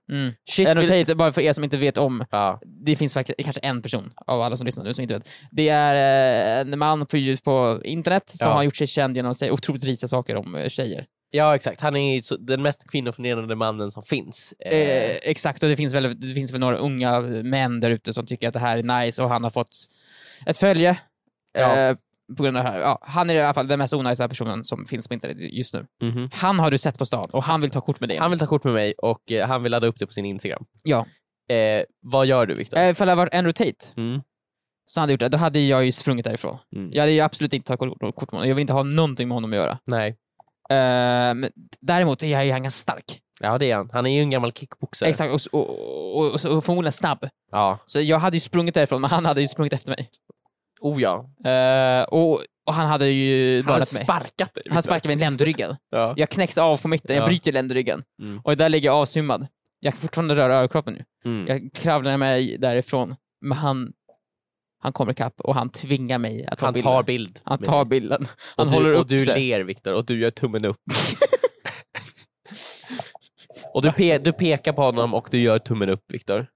Shit, Mm. Andrew vill... Tate, bara för er som inte vet om, ja. det finns faktiskt kanske en person av alla som lyssnar nu som inte vet. Det är eh, en man på, ljus- på internet som Ja. har gjort sig känd genom att säga otroligt risiga saker om eh, tjejer. ja exakt, han är ju så- den mest kvinnoförnedrande mannen som finns. Eh, Eh, exakt, och det finns, väl, det finns väl några unga män där ute som tycker att det här är nice och han har fått ett följe. Ja. Eh, på grund av det här. Ja, han är i alla fall den mest onajsa personen som finns på internet just nu. mhm. Han har du sett på stan och han vill ta kort med dig. Han vill ta kort med mig och eh, han vill ladda upp det på sin Instagram. Ja. Eh, vad gör du Viktor? Eh, Ifall det hade varit Andrew Tate Mm. så hade jag gjort det, då hade jag ju sprungit därifrån. Mm. Jag hade ju absolut inte tagit kort, kort med honom. Jag vill inte ha någonting med honom att göra. Nej, Eh, men däremot är jag- är han ganska stark. ja det är han. Han är ju en gammal kickboxare. Exakt, och, s- och, och, och, och förmodligen snabb. Ja. Så jag hade ju sprungit därifrån, men han hade ju sprungit efter mig. Oh ja. Eh, och, och han hade ju Han har mördat mig. sparkat dig. Han sparkade mig i ländryggen. Ja. Jag knäcks av på mitten, jag Ja. bryter ländryggen. Mm. Och där ligger jag avsvimmad. Jag kan fortfarande röra överkroppen nu. Mm. Jag kravlar mig därifrån, men han, han kommer ikapp och han tvingar mig att ta han bilden. tar bild. han med tar dig. bilden. Han och håller du, upp Och du sig. ler Viktor och du gör tummen upp. och du, pe- du pekar på honom och du gör tummen upp Viktor.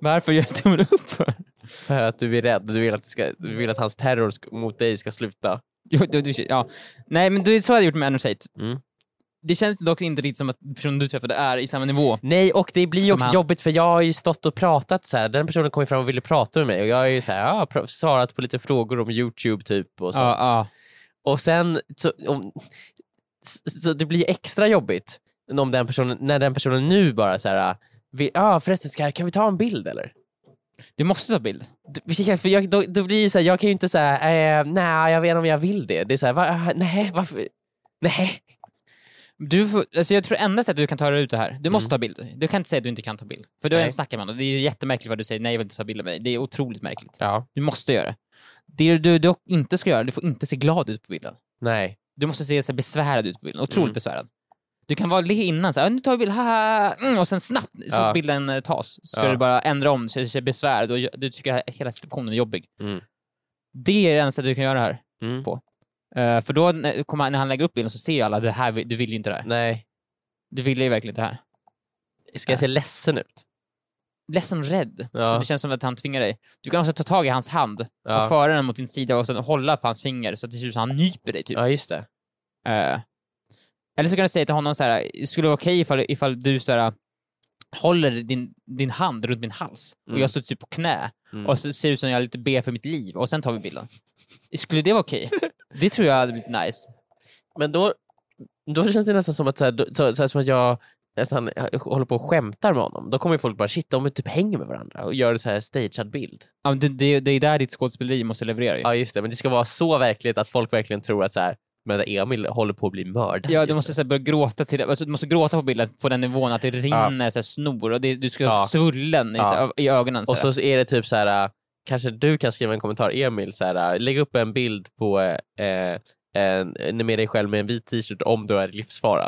Varför gör jag tummen upp för? För att du är rädd och du vill att, det ska, du vill att hans terror sk- mot dig ska sluta. Jo, du, du, ja. Nej, men du, så hade jag gjort med Andrew Tate. Mm. Det känns dock inte riktigt som att personen du träffade är i samma nivå. Nej och det blir ju Som också han. jobbigt för jag har ju stått och pratat så här. den personen kom ju fram och ville prata med mig och jag har ju så här, ja, pr- svarat på lite frågor om Youtube typ och så. Och sen så, om, s- så det blir extra jobbigt om den personen, när den personen nu bara så här, vi, ah, förresten ska, kan vi ta en bild eller? Du måste ta bild. Du- För jag, då, då blir det så här, jag kan ju inte säga, eh, nej jag vet inte om jag vill det. Det är så här, va, ah, nej varför? Nej. Du får, alltså jag tror enda sättet du kan ta dig ut det här, du måste ta bild. Du kan inte säga att du inte kan ta bild. För du har Mm. Nej. en snackar med honom. Det är ju jättemärkligt vad du säger, nej jag vill inte ta bild med dig. Det är otroligt märkligt. Ja. Du måste göra det. Det du dock inte ska göra, du får inte se glad ut på bilden. Nej. Du måste se så här besvärad ut på bilden, otroligt Mm. besvärad. Du kan vara le innan, så här, nu tar vi bild, haha, mm, och sen snabbt, så Ja. fort bilden eh, tas, ska Ja. du bara ändra om, så du ser besvärad och gö- du tycker att hela situationen är jobbig. Mm. Det är det enda sättet du kan göra det här. Mm. Eh, för då när, kommer han- när han lägger upp bilden så ser ju alla, det här, vill- du vill ju inte det här. Nej. Du vill ju verkligen inte det här. Ska jag se ledsen ut? Ledsen och rädd. Ja. Så det känns som att han tvingar dig. Du kan också ta tag i hans hand och Ja, föra den mot din sida och sen hålla på hans finger så att det ser ut som han nyper dig typ. ja just det. Eh, eller så kan du säga till honom så här, skulle det vara okej ifall, ifall du så här, håller din, din hand runt min hals och Mm. jag står typ på knä Mm. och så ser det ut som jag lite ber för mitt liv och sen tar vi bilden. Skulle det vara okej? Det tror jag hade blivit nice. Men då, då känns det nästan som att, så här, då- så, så här, som att jag nästan eh, håller på och skämtar med honom. Då kommer ju folk bara, shit de typ hänger med varandra och gör så här stagead bild. Ja, men det, det, det är där ditt skådespeleri måste leverera ju. Ja just det, men det ska vara så verkligt att folk verkligen tror att så här, men Emil håller på att bli mördad. Ja, just du nu. måste så här, börja gråta till alltså, Du måste gråta på bilden på den nivån att det rinner så här, snor och det, du ska ha Ja. svullen i, Ja. så här, i ögonen. Så Och här. så är det typ så här, äh, kanske du kan skriva en kommentar Emil, så här, äh, lägg upp en bild på eh, en, en- med dig själv med en vit t-shirt om du är i livsfara.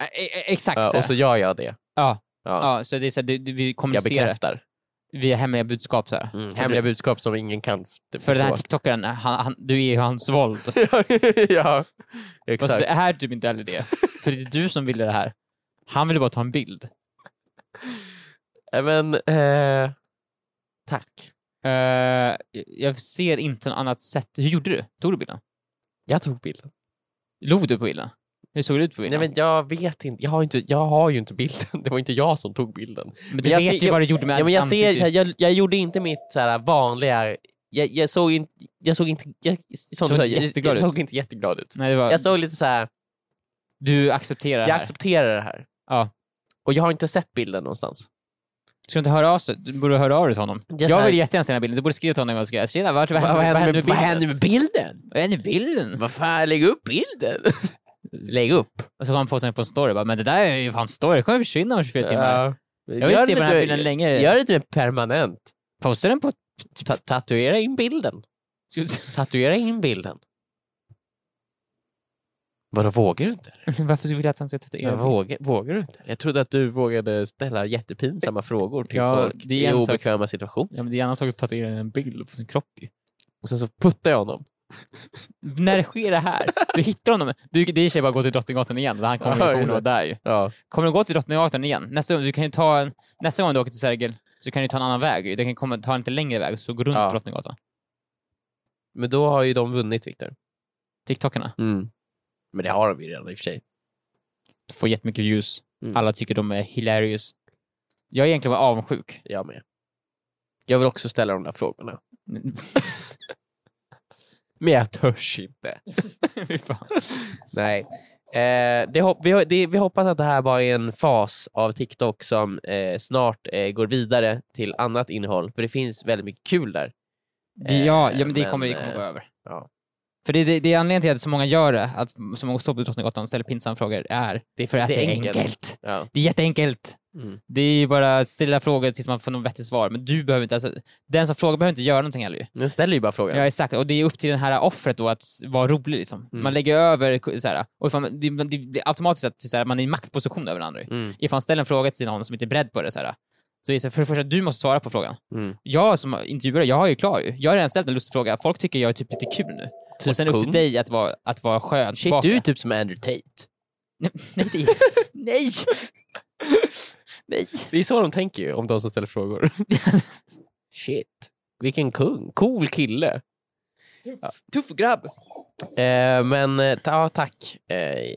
Eh, eh, Exakt. Ja, och så gör jag det. Ja. Ja. ja, så det är så här, du, du, vi Jag kommunicerar bekräftar. via hemliga budskap. Så här. Mm. För Hemliga budskap som ingen kan f- För den här förstå. tiktokaren, han, han, du är ju hans våld. ja, Fast exakt. det är typ inte heller det. För det är du som ville det här. Han ville bara ta en bild. Äh, Men, eh, tack. Eh, jag ser inte något annat sätt. Hur gjorde du? Tog du bilden? Jag tog bilden. Log du på bilden? Hur såg det ut på Nej, bilden? men jag vet inte. Jag, har inte. jag har ju inte bilden. Det var inte jag som tog bilden. men, du jag vet ser- ju vad du gjorde med Ja, men jag, ser, ansiktet. typ. så här, jag, jag gjorde inte mitt så här, vanliga... Jag, jag såg inte... Jag såg inte, jag, som Såg du sa, inte jag, jätteglad jag ut. såg inte jätteglad ut. Nej, det var, Jag såg lite så här, Du accepterar det jag här. accepterar det här. Ja. Och jag har inte sett bilden någonstans. Ska du inte höra av sig? Du borde höra av dig till honom. Jag jag säger- vill jättegärna se den här bilden. Du borde skriva till honom och skriva “Tjena, vad, vad, vad, vad händer med bilden?” med bilden? Vad händer med bilden? Vad fan, lägg upp bilden! Lägg upp. Och så kom han på sig på en story bara, men det där är ju fan story, det kommer försvinna om 24 timmar. Jag vill Gör se på den här lite- bilden länge. Gör det inte permanent. Posta den på... Ta tatuera in bilden. Tatuera in bilden. Vadå, vågar du inte? Varför vill jag att han ska tatuera Jag mig? vågar, vågar du inte? Jag trodde att du vågade ställa jättepinsamma frågor till Ja, folk det är i en sak. obekväma situationer. Ja, men det är en annan sak att tatuera en bild på sin kropp ju. Och sen så puttar jag honom. När sker det här? Du hittar honom. Du, det är i och för sig bara att gå till Drottninggatan igen, så han kommer Ja, ju förmodligen just det. vara där ju. Ja. Kommer du gå till Drottninggatan igen? Nästa, gång- du kan ju ta en, nästa gång du åker till Sergel så kan du ta en annan väg. ju. Du kan komma, ta en lite längre väg och så gå runt Ja. Drottninggatan. Men då har ju de vunnit, Viktor. TikTokarna Mm. Men det har de ju redan i och för sig. får jättemycket views. Mm. Alla tycker de är hilarious. Jag är egentligen bara avundsjuk. Jag med. Jag vill också ställa de där frågorna. Men jag törs inte. Fy fan. Nej. Eh, det hop- vi, ho- det, vi hoppas att det här bara är en fas av TikTok som eh, snart eh, går vidare till annat innehåll, för det finns väldigt mycket kul där. Det, ja, ja, men det men, kommer, det kommer eh, gå över. ja. För det, det, det är anledningen till att så många gör det, att så många står på Drottninggatan och ställer pinsamma frågor, är det är för att det är enkelt. Ja. Det är jätteenkelt. Mm. Det är ju bara att ställa frågor tills man får något vettigt svar. Men du behöver inte, alltså, den som frågar behöver inte göra någonting heller ju. Den ställer ju bara frågan. Ja exakt, och det är upp till det här offret då att vara rolig liksom. Mm. Man lägger över så här, och ifall man, det, det blir automatiskt att så här, man är i maktposition över den andra. ju. Mm. Ifall man ställer en fråga till någon som inte är beredd på det så här. Så är det så här, för det första, du måste svara på frågan. Mm. Jag som intervjuare, jag har ju klar ju. Jag har redan ställt en lustig fråga, folk tycker jag är typ lite kul nu. och sen upp till kung. dig att vara, att vara skön Shit, tillbaka. du är typ som Andrew Tate. Nej, det- nej! Nej! Det är så de tänker ju om de som ställer frågor. Shit, vilken kung. Cool kille. Ja. Tuff grabb! Eh, men eh, ta, ja, tack eh,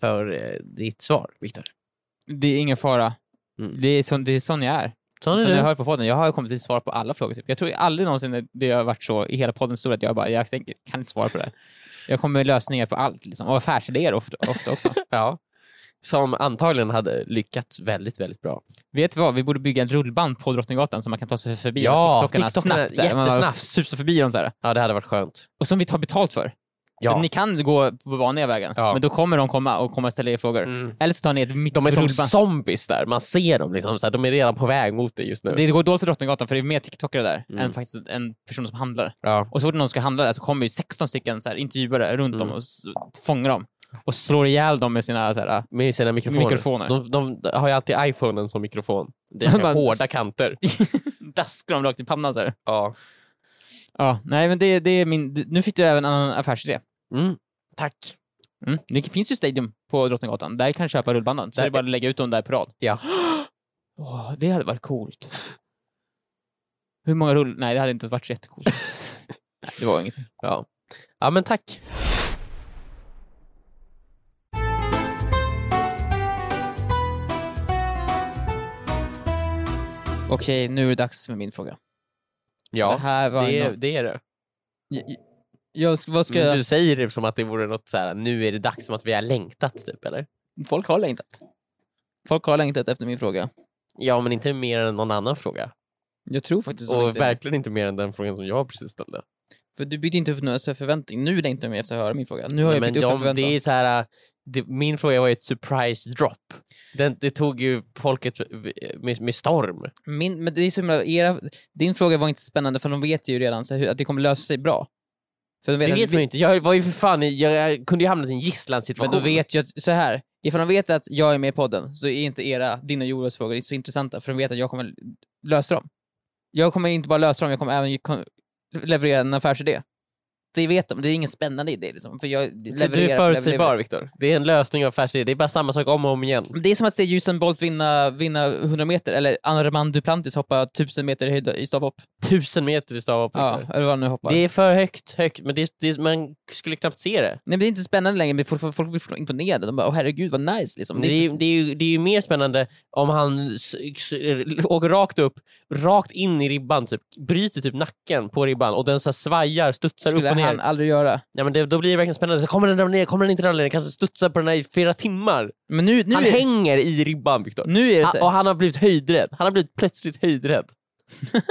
för eh, ditt svar, Viktor. Det är ingen fara. Mm. Det, är sån, det är sån jag är. Sån Som är ni har du. hört på podden, jag har kommit till svar på alla frågor. Typ. Jag tror aldrig någonsin det har varit så i hela poddens historia att jag bara, jag tänker, kan inte svara på det här. Jag kommer med lösningar på allt, liksom. och affärsidéer ofta, ofta också. Ja. Som antagligen hade lyckats väldigt, väldigt bra. Vet du vad, vi borde bygga en rullband på Drottninggatan så man kan ta sig förbi Ja, TikTokarna TikTokarna, snabbt. så här. Man bara jättesnabbt. Susar förbi dem så här. Ja, det hade varit skönt. Och som vi tar betalt för. Ja. Så ni kan gå på vanliga vägen, Ja. Mm. men då kommer de komma och komma och ställa er frågor. Eller så tar ni ett mitt De är på som rullband. zombies där, man ser dem. Liksom, så här, de är redan på väg mot dig just nu. Det går dåligt för Drottninggatan för det är mer TikTokare där Mm. än faktiskt en person som handlar. Ja. Och så fort någon ska handla där så kommer ju 16 stycken så här intervjuare runt Mm. dem och s- fångar dem. Och slår ihjäl dem med sina så här, äh, Med sina mikrofoner. Mikrofoner. De, de har ju alltid iPhonen som mikrofon. Det är Man- hårda kanter. daskar dem rakt i pannan så här. Ja. Ja, nej men det, det är min... d- Nu fick du även en annan affärsidé. Mm. Tack. Mm. Det finns ju Stadium på Drottninggatan, där kan du köpa rullbanden. Så Där- det är bara att lägga ut dem där på rad. Ja. Åh, det hade varit coolt. Hur många rull... Nej, det hade inte varit så jättecoolt. nej, det var inget. Ja. ja, men tack. Okej, nu är det dags för min fråga. det Ja, här var det, en... är- Mm. det är det. Jag, jag, vad ska Men jag... Du säger det som att det vore något så här, nu är det dags, som att vi har längtat, typ, eller? Folk har längtat. Folk har längtat efter min fråga. Ja, men inte mer än någon annan fråga. Jag tror faktiskt de Och längtar. verkligen inte mer än den frågan som jag precis ställde. För du byggde inte upp några så här förväntningar. Nu längtar de efter att höra min fråga. Nu har Nej, jag men byggt upp en de, det förväntan. är så här, äh, det, min fråga var ju ett surprise drop. Den, det tog ju folket v- med, med storm. Min, men det är så himla, era, din fråga var inte spännande för de vet ju redan så här, hur- att det kommer lösa sig bra. För de vet Det att vet man ju inte. Jag var ju för fan, i- jag, jag kunde ju hamnat i en Men gisslansituation. de vet ju att, så här, ifall de vet att jag är med i podden så är inte era, dina och Joels frågor så intressanta för de vet att jag kommer lösa dem. Jag kommer inte bara lösa dem, jag kommer även ju- kom- leverera en affärsidé. Det vet de, det är ingen spännande idé liksom. För jag så du är levererar- levererar. förutsägbar Viktor. Det är en lösning av affärsidé. Det är bara samma sak om och om igen. Men Det är som att se Usain Bolt vinna, vinna 100 meter, eller Armand Duplantis hoppa 1000 meter i, höjd, i stavhopp. Tusen meter i stavhopp Ja, Viktor. eller vad han nu hoppar. Det är för högt, högt. Men det, det, man skulle knappt se det. Nej, men det är inte spännande längre, men folk, folk blir imponerade. De bara åh herregud vad nice liksom. Det Det är är, inte... det, är ju, det är ju mer spännande om han s- s- åker rakt upp, rakt in i ribban, typ, bryter typ nacken på ribban och den så här svajar, studsar skulle upp och ner. han aldrig göra. Ja, men det, då blir det verkligen spännande. Så kommer den ramla ner? Kommer den inte ramla ner? Kanske studsar på den här i flera timmar. Men nu, nu, han är, hänger i ribban, Viktor. nu är det så Ha- här. Och han har blivit höjdrädd. Han har blivit plötsligt höjdrädd.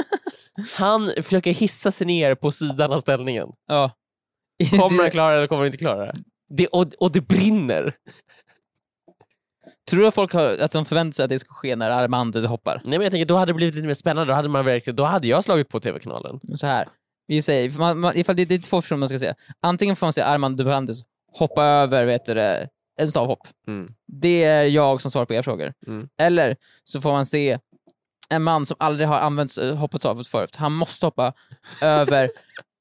han försöker hissa sig ner på sidan av ställningen. Ja. Kommer han Det, klara det eller kommer han inte klara det? Det, och, och det brinner. Tror du att folk har, att de förväntar sig att det ska ske när Armand hoppar? Nej men jag tänker, då hade det blivit lite mer spännande. Då hade, man verkligen, då hade jag slagit på TV-kanalen. Så här. Vi säger, för man, man, ifall det, det är två personer man ska se. Antingen får man se Armand Dubantis hoppa över vet du, det, en stavhopp. Mm. Det är jag som svarar på era frågor. Mm. Eller så får man se en man som aldrig har använt eh, hoppet av förut. Han måste hoppa över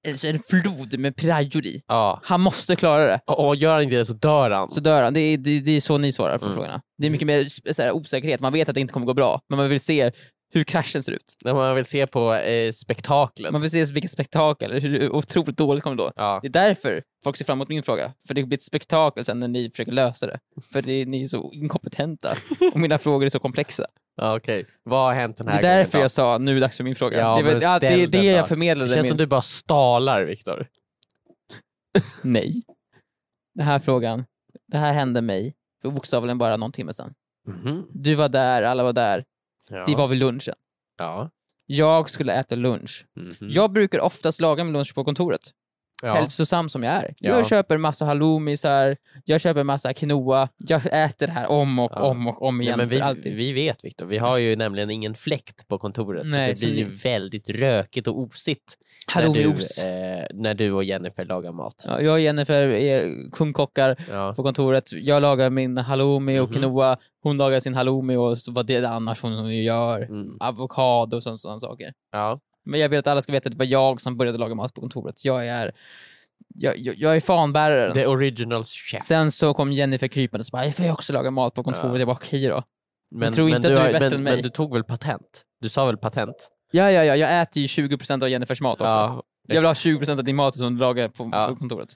en- en flod med prajor i. Ja. Han måste klara det. Och och gör han inte det så dör han. så dör han. Det är, det, det är så ni svarar på Mm. frågorna. Det är mycket mer s- så här, osäkerhet, man vet att det inte kommer gå bra, men man vill se hur kraschen ser ut. När man vill se på eh, spektaklet. Man vill se vilket spektakel, hur otroligt dåligt kommer det då. Ja. Det är därför folk ser fram emot min fråga, för det blir ett spektakel sen när ni försöker lösa det. För det, ni är så inkompetenta och mina frågor är så komplexa. Ja, Okej, vad har hänt den Det här är därför gången? jag sa nu är det dags för min fråga. Ja, det, är men väl- ja, det är ställ det den jag då. förmedlade. Det känns min... som du bara stalar, Viktor. Nej. Den här frågan, det här hände mig för bokstavligen bara någon timme sedan. Du var där, alla var där, Ja. Mhm. det var vid lunchen. ja. Jag skulle äta lunch. Mhm. Jag brukar oftast laga min lunch på kontoret, Ja. hälsosam som jag är. Ja. Jag köper massa halloumisar, jag köper massa quinoa, jag äter det här om och Ja. om och om Nej, igen men för vi, alltid. vi vet Viktor, vi har ju nämligen ingen fläkt på kontoret. Nej, så så det blir ju ni- väldigt rökigt och osigt när du, Halloumiost. eh, när du och Jennifer lagar mat. Ja, jag och Jennifer är kungkockar Ja. på kontoret. Jag lagar min halloumi och Mhm. quinoa, hon lagar sin halloumi och så vad det är annars hon gör. Mm. Avokado och sådana, sådana saker. Ja. Men jag vill att alla ska veta att det var jag som började laga mat på kontoret. Jag är, jag, jag, jag är fanbäraren. The original chef. Sen så kom Jennifer krypande och så bara, jag får ju också laga mat på kontoret. Ja. Jag bara, okej då. Men, tror men, inte att du är har- bättre men, än mig. men du tog väl patent? Du sa väl patent? Ja, ja, ja, jag äter ju 20% av Jennifers mat också. Ja. jag vill ha 20% av din mat som du lagar på, Ja. på kontoret.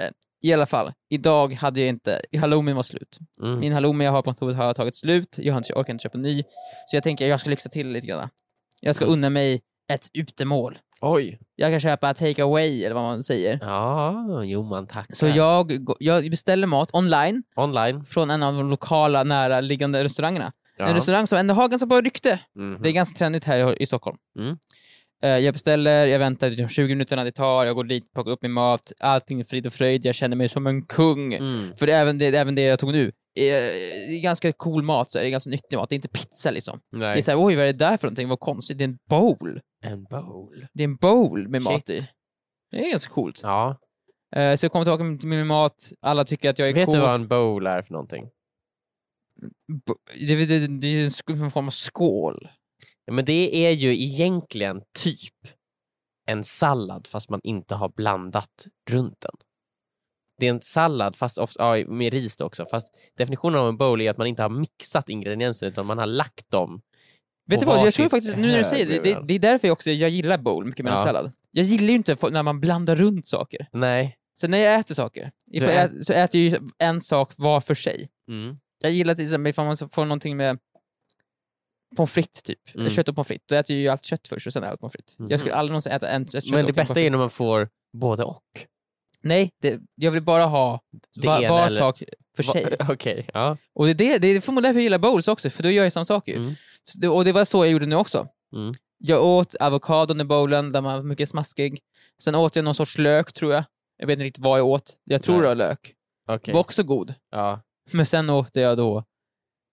Eh, I alla fall, idag hade jag inte, halloumin var slut. Mm. Min halloumi jag har på kontoret har tagit slut, jag har inte, orkar inte köpa ny. Så jag tänker jag ska lyxa till lite grann. Jag ska Mm. unna mig ett utemål. Oj. Jag kan köpa take away eller vad man säger. Ja, jo man tackar. Så jag, gå- jag beställer mat online Online. från en av de lokala näraliggande restaurangerna. Ja. En restaurang som ändå har ganska bra rykte. Mhm. Det är ganska trendigt här i- i Stockholm. Mm. Eh, Jag beställer, jag väntar de 20 minuterna det tar, jag går dit, plockar upp min mat, allting är frid och fröjd, jag känner mig som en kung. Mm. För även det, även det jag tog nu, är, är ganska cool mat, så här, det är ganska nyttig mat, det är inte pizza liksom. Det är Nej. såhär, oj vad är det där för någonting, vad konstigt, det är en bowl. En bowl. Det är en bowl med Shit. mat i. Det är ganska coolt. Ja. Eh, Så jag kommer tillbaka till min mat, alla tycker att jag är Vet cool. du vad en bowl är för någonting? Bo- Det, det, det, det är en sk- en form av skål. Ja, men det är ju egentligen typ en sallad fast man inte har blandat runt den. Det är en sallad fast ofta, ja, med ris då också, fast definitionen av en bowl är att man inte har mixat ingredienser utan man har lagt dem. Vet du Och vad, jag varsitt tror faktiskt, nu när du säger det, det, höglevel. det är därför jag också jag gillar bowl mycket mer Ja. än sallad. Jag gillar ju inte fo- när man blandar runt saker. Nej. Så när jag äter saker, ifall Du jag, ä- ä- så äter jag ju en sak var för sig. Mm. Jag gillar till exempel ifall man så får någonting med pommes frites typ, Mm. kött och pommes frites, då äter jag ju allt kött först och sen allt pommes frites. Mhm. Jag skulle aldrig någonsin äta en, ett kött Men det och en pommes bästa är när man får både och. frites. Nej, det, jag vill bara ha Det va, ena var eller- sak för sig. Okej, ja. Och det är, det, det är förmodligen därför jag gillar bowls också, för då gör jag samma sak ju. Mm. Så det- Och det var så jag gjorde nu också. Mm. Jag åt avokadon i bowlen, den var mycket smaskig. Sen åt jag någon sorts lök tror jag. Jag vet inte riktigt vad jag åt. Jag tror Nej. det var lök. Okej. Var också god. Ja. Men sen åt jag då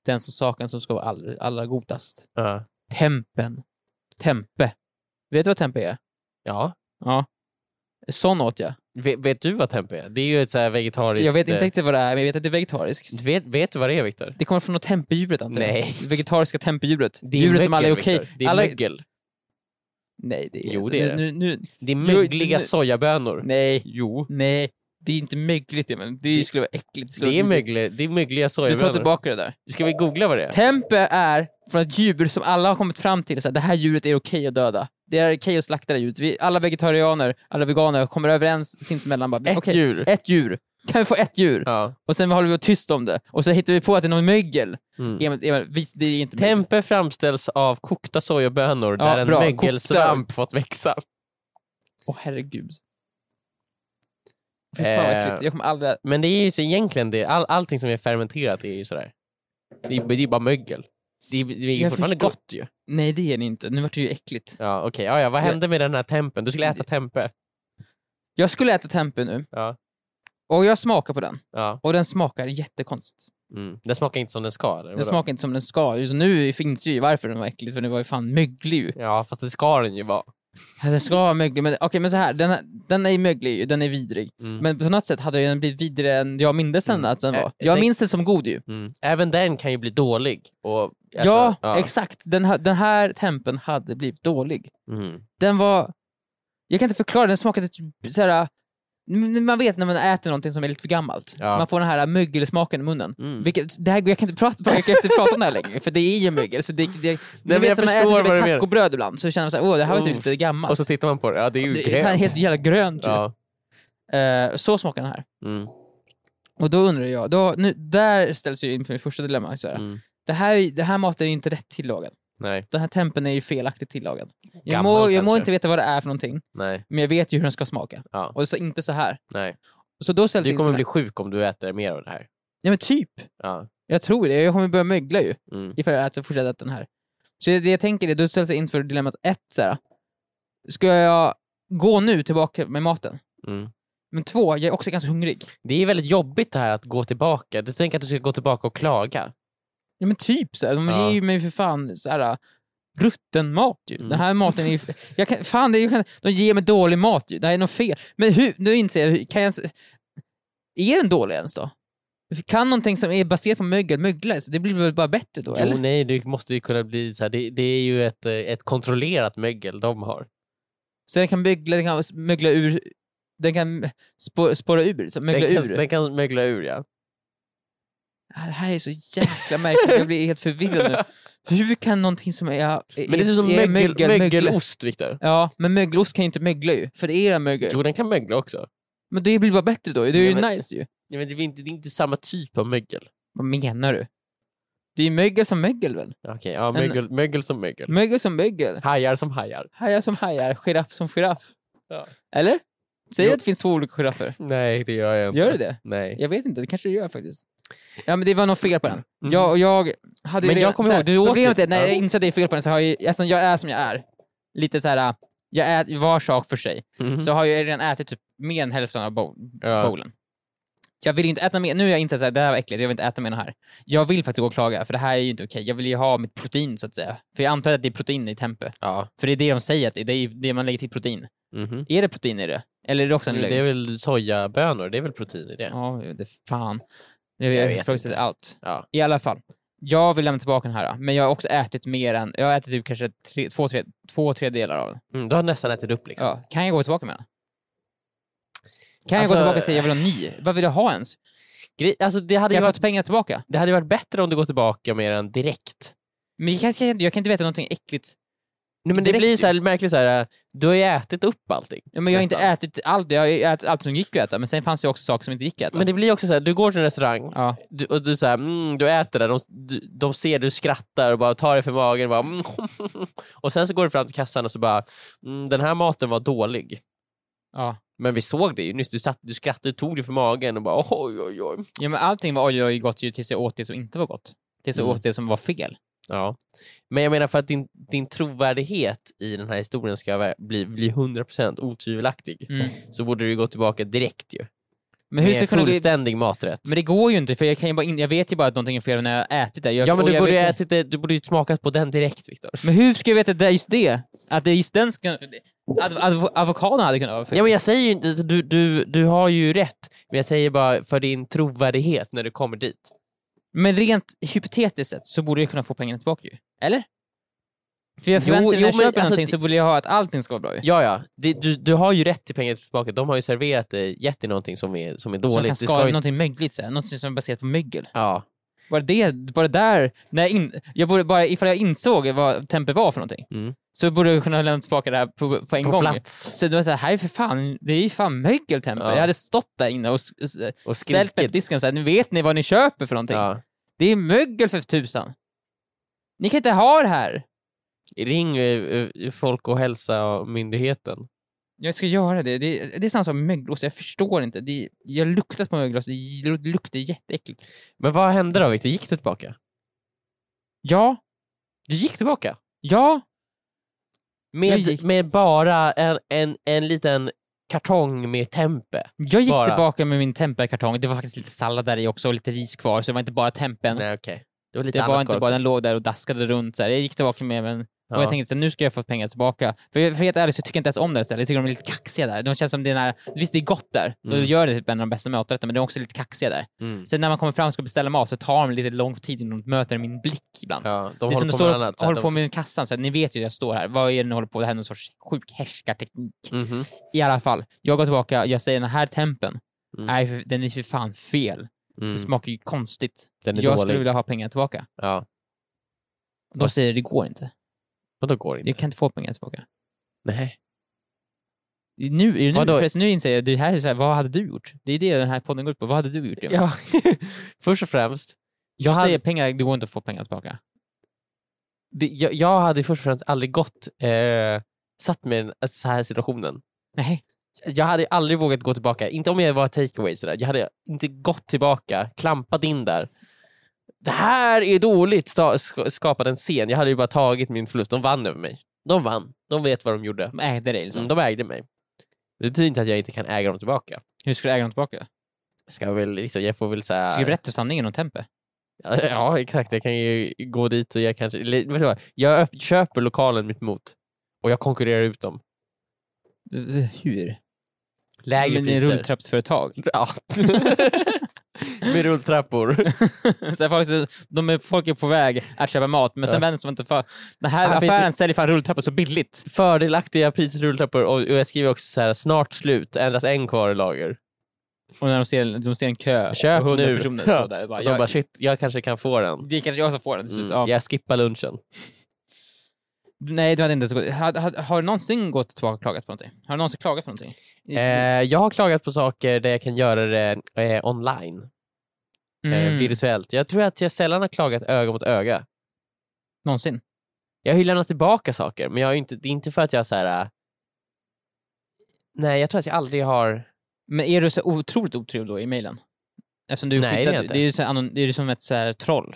den som saken som ska vara allra, allra godast. Ja. Tempen. Tempe. Vet du vad tempe är? ja. Sån åt jag. Vet, vet du vad tempe är? Det är ju ett så här vegetariskt... Jag vet inte eh, riktigt vad det är, men jag vet att det är vegetariskt. Vet, vet du vad det är, Viktor? Det kommer från något tempedjuret antar jag. Nej. Det vegetariska tempedjuret. Det är Djuret som alla är mögel, okej. Viktor. Det är alla... mögel. Nej, det är alltså Jo, det är det. nu, nu... Det är Jo, mögliga det- sojabönor. Nej, Jo. nej. Det är inte mögligt det, men det skulle vara äckligt. skulle Det är, vara- mögle, det är mögliga Du tar sojabönor. tillbaka det där. Ska vi googla vad det är? Tempe är från ett djur som alla har kommit fram till, så här, det här djuret är okej att döda. Det är okej att slakta det här djuret. Vi, alla vegetarianer, alla veganer kommer överens sinsemellan. Bara, Ett okej, djur. ett djur. Kan vi få ett djur? Ja. Och sen håller vi tyst om det. Och så hittar vi på att det är någon mögel. Mm. Emil, Emil, vi- det är inte mögel. Tempe framställs av kokta sojabönor Ja, där en bra. mögelsvamp fått växa. Åh herregud. Fy fan vad Eh. äckligt. Jag kommer aldrig... Men det är ju så egentligen det, all, allting som är fermenterat är ju sådär. Det är, det är bara mögel. Det är, det är ju Jag fortfarande förstår. gott ju. Nej det är det inte. Nu vart det ju äckligt. Ja, okej. Ja, ja, vad hände med den här tempen? Du skulle äta tempe. Jag skulle äta tempe nu. Ja. Och jag smakar på den. Ja. Och den smakar jättekonstigt. Mm. Den smakar inte som den ska? Eller? Den vadå? smakar inte som den ska. Just nu finns ju varför den var äcklig, för den var ju fan möglig ju. Ja, fast det ska den ju vara. Alltså, den ska vara möglig, men okej men så här, den, den är ju möglig ju, den är vidrig. Mm. Men på något sätt hade den blivit vidrigare än jag mindes den Mm. att den Ä- var. Jag det- minns den som god ju. Mm. Även den kan ju bli dålig. Och, alltså, ja, exakt. Den, ha- den här tempen hade blivit dålig. Mm. Den var... Jag kan inte förklara, den smakade typ såhär... n- Man vet när man äter någonting som är lite för gammalt. Ja. Man får den här mögelsmaken i munnen. Mm. Vilket, det här, jag kan inte prata, jag kan inte prata om det här längre, för det är ju mögel. Så det, det, men ni jag vet när man förstår äter typ vad du ett menar. tacobröd ibland så känner man såhär, åh det här var typ Uff. lite gammalt. Och så tittar man på det, ja det är ju det är fan grönt. helt jävla grönt ju. Ja. Eh, Så smakar den här. Mm. Och då undrar jag, då, nu, där ställs ju in på mitt första dilemma. Så här. Mm. Det, här, det här maten är ju inte rätt tillagad. Nej, Den här tempen är ju felaktigt tillagad. Jag Gammal må, jag må kanske. inte veta vad det är för någonting, nej, men jag vet ju hur den ska smaka. Ja. Och så, inte så här. nej. Så då ställs Du in kommer för- bli sjuk om du äter mer av det här. Ja men typ. Ja. Jag tror det. Jag kommer börja mögla ju Mm. ifall jag äter, fortsätter äta den här. Så det, det jag tänker är, då ställs jag inför dilemmat ett så här. Ska jag gå nu tillbaka med maten? Mm. Men två, jag är också ganska hungrig. Det är väldigt jobbigt det här att gå tillbaka. Du tänker att du ska gå tillbaka och klaga. Ja men typ så här. de Ja. ger ju mig för fan så här rutten mat ju. Mm. Den här maten är ju... Jag kan, fan, det är, ju- jag kan, de ger mig dålig mat ju. Det här är något fel. Men hur, nu inser jag, hur- kan jag ens, Är den dålig ens då? Kan någonting som är baserat på mögel mögla? Så det blir väl bara bättre då? Jo, eller? nej, du måste ju kunna bli så här. Det, det är ju ett, eh, ett kontrollerat mögel de har. Så den kan mögla, den kan mögla ur... Den kan spå- spåra ur, så mögla Den kan, ur. den kan mögla ur, ja. Ah, Det här är så jäkla märkligt, jag blir helt förvirrad nu. Hur kan någonting som är... är Men det är typ som mögel, mögelost, Viktor. Ja, men mögelost kan ju inte mögla ju, för det är en mögel. Jo, den kan mögla också. Men det blir bara bättre då, det är ju Ja, men- nice ju. Ja, men det, är inte, det är inte samma typ av mögel. Vad menar du? Det är mögel som mögel väl? Okej, ja, mögel, mögel som mögel. Mögel som mögel. Hajar som hajar. Hajar som hajar, giraff som giraff. Ja. Eller? Jo. Säger du att det finns två olika giraffer? Nej, det gör jag inte. Gör det det? Nej. Jag vet inte, det kanske det gör faktiskt. Ja men det var något fel på den. Mm. Jag, och jag hade ju Men jag redan- kommer så här, ihåg, du åt Problemet ju- är, när Ja. jag insåg att det är fel på den så har jag ju, eftersom jag är som jag är, lite så här. äh, jag äter var sak för sig, Mhm. så har jag redan ätit typ mer än hälften av bowl, Ja. bowlen. Jag vill ju inte äta mer, nu har jag insett att det här var äckligt, jag vill inte äta mer än det här. Jag vill faktiskt gå och klaga, för det här är ju inte okej. Jag vill ju ha mitt protein så att säga. För jag antar att det är protein i tempe. Ja. För det är det de säger, att det är det man lägger till protein. Mhm. Är det protein i det? Eller är det också en lögn? Mm, Det är väl sojabönor, det är väl protein i det? Ja, jag vet inte, fan. Jag, Jag jag, vet jag inte. allt. Ja. I alla fall. Jag vill lämna tillbaka den här, men jag har också ätit mer än, jag har ätit typ kanske tre, två, tre, två, tre delar av den. Mm, du har nästan ätit upp liksom. Ja. Kan jag gå tillbaka med den? Kan Alltså- jag gå tillbaka och säga jag vill ha en ny? Vad vill jag ha ens? Gre- Alltså, det, hade Kan ju jag varit, få pengar tillbaka? det hade ju varit bättre om du går tillbaka med den direkt. Men jag kan, jag kan- jag kan inte veta någonting äckligt. Nej, men det Direkt blir ju. så här märkligt, så här, äh, du har ju ätit upp allting. Ja, men jag har inte Nästan. ätit allt, jag har ju ätit allt som gick att äta, men sen fanns det också saker som inte gick att äta. Men det blir också så här, du går till en restaurang Ja. du, och du, så här, mm, du äter där, de, du, de ser du skrattar och bara tar dig för magen. Och, bara, mm, och sen så går du fram till kassan och så bara, mm, den här maten var dålig. Ja. Men vi såg det ju nyss, du, satt, du skrattade, du tog det för magen och bara oj oj oj. ja, men allting var oj, oj, gott ju tills jag åt det som inte var gott. Tills jag Mm. åt det som var fel. Ja. Men jag menar för att din, din trovärdighet i den här historien ska vara- bli, bli 100% otvivelaktig Mm. så borde du ju gå tillbaka direkt ju. Men hur med fick en man gå- fullständig maträtt. Men det går ju inte, för jag, kan ju bara in, jag vet ju bara att någonting är fel när jag har ätit det. Jag, ja men och du jag borde, ju vet- ätit det, du borde ju smakat på den direkt Viktor. Men hur ska jag veta det, just det? Att det är just den ska... Adv- adv- avokadon hade kunnat vara fel. Ja men jag säger ju inte, alltså, du, du, du har ju rätt, men jag säger bara för din trovärdighet när du kommer dit. Men rent hypotetiskt sett så borde jag kunna få pengarna tillbaka ju. Eller? För jag Jo, förväntar mig jo, när jag men köper alltså någonting det- så vill jag ha att allting ska vara bra ju. Ja ja, det, du, du har ju rätt till pengar tillbaka, de har ju serverat dig, gett dig någonting som är, som är Som dåligt. kan Du skada ska ju- någonting mögligt, så här. någonting som är baserat på mögel. ja. Bara det, bara där, när jag in, jag borde bara, ifall jag insåg vad tempe var för någonting, Mm. så borde jag kunna lämna tillbaka det här på, på en På gång. plats Så det var såhär, här är för fan, det är ju fan mögel tempe. Ja. Jag hade stått där inne och s- s- och ställt mig på skrikit. disken och såhär, nu vet ni vad ni köper för någonting. Ja. Det är mögel för tusan. Ni kan inte ha det här. Ring eh, eh, Folk och hälsa och myndigheten. Jag ska göra det. Det, det är samma sak med mögelost, jag förstår inte. Det, jag har luktat på mögelost, det luktar jätteäckligt. Men vad hände då Victor? Gick du tillbaka? Ja, Du gick tillbaka? ja, Med, gick- med bara en, en, en liten kartong med tempe. Jag gick Bara. tillbaka med min temperkartong. Det var faktiskt lite sallad där i också och lite ris kvar, så det var inte bara tempen. Nej okej. Det var lite Det annat var inte kvar bara, också. den låg där och daskade runt. Så här. Jag gick tillbaka med den Ja. och jag tänkte så här, nu ska jag få pengar tillbaka. För jag- för helt ärligt så tycker jag inte ens om det här stället. Jag tycker de är lite kaxiga där. De känns som det är nära, visst det är gott där, då Mm. gör det typ en av de bästa maträtterna, men de är också lite kaxiga där. Mm. Så när man kommer fram och ska beställa mat så tar de lite lång tid innan de möter min blick ibland. Ja, de det är håller som på står, med annat. så här, håller de- på med kassan, så här, ni vet ju att jag står här. Vad är det ni håller på med? Det här är någon sorts sjuk härskarteknik. Mhm. I alla fall, jag går tillbaka, jag säger den här tempen, Mm. nej för- den är för fan fel. Mm. Det smakar ju konstigt. Den är jag dålig. skulle vilja ha pengar tillbaka. Ja, De säger det går inte. men då går det inte. Jag kan inte få pengar tillbaka. Nej. Nu, är det nu, Vadå? förresten, nu inser jag, det här är så här, vad hade du gjort? Det är det den här podden går ut på. Vad hade du gjort? Emil? Ja. Först och främst, jag jag hade- säger pengar, det går inte att få pengar tillbaka. det, jag, jag hade först och främst aldrig gått, eh, satt mig i den alltså, så här situationen. Nej. Jag hade aldrig vågat gå tillbaka, inte om jag var takeaway sådär. Jag hade inte gått tillbaka, klampat in där. Det här är dåligt, sta- sk- skapade en scen. Jag hade ju bara tagit min förlust, de vann över mig. De vann, de vet vad de gjorde. De ägde dig liksom. Mm, de ägde mig. Det betyder inte att jag inte kan äga dem tillbaka. Hur ska du äga dem tillbaka? Ska väl, liksom, jag får väl Ska du säga... berätta sanningen om Tempe? Ja, exakt. Jag kan ju gå dit och jag kanske... eller, vet du vad? Jag öpp- köper lokalen mitt emot och jag konkurrerar ut dem. Hur? Lägre Men det är priser. rulltrappsföretag. Ja. Med rulltrappor. så här, folk, så- de är, folk är på väg att köpa mat, men sen Ja. vänder de inte för... Den här Här finns affären säljer fan rulltrappor så billigt. Fördelaktiga priser till rulltrappor och och jag skriver också så här: snart slut, endast en kvar i lager. Och när de ser, de ser en kö Köp och hundra nu. personer Ja. står där. Bara, Och jag, de bara shit, jag kanske kan få den. det är kanske jag som får den till slut. Mm. Ja. Jag skippar lunchen. Nej, du hade inte ens gått. Har, har, har du någonsin gått tillbaka och klagat på någonting? Har du någonsin klagat på någonting? Eh, jag har klagat på saker där jag kan göra det eh, online, eh, Mm. virtuellt. Jag tror att jag sällan har klagat öga mot öga. Någonsin? Jag har ju lämnat tillbaka saker, men jag har ju inte, det är inte för att jag så här. äh, Nej, jag tror att jag aldrig har... Men är du så otroligt otrevlig då i mejlen? Eftersom du Nej, det är skickar- jag inte. det är ju så här anon- det är ju som ett så här troll.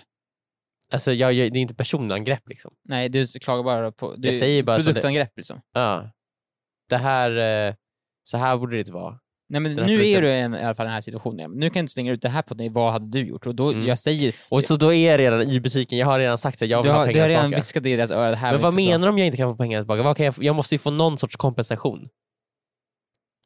Alltså, jag, gör- det är inte personangrepp liksom. Nej, du klagar bara på... Du, Jag säger bara som det- Produktangrepp liksom. Ja. Det här... eh, Så här borde det inte vara. Nej men Den här nu är produkten. du i en- i alla fall i den här situationen. Nu kan jag inte slänga ut det här på dig, vad hade du gjort? Och då, Mm. jag säger... Och så då är jag redan i butiken, jag har redan sagt att jag Du vill ha har, du har pengar redan tillbaka. viskat i deras öra, det här Men var vad inte bra. menar du om jag inte kan få pengar tillbaka? Vad kan jag, få? jag måste ju få någon sorts kompensation.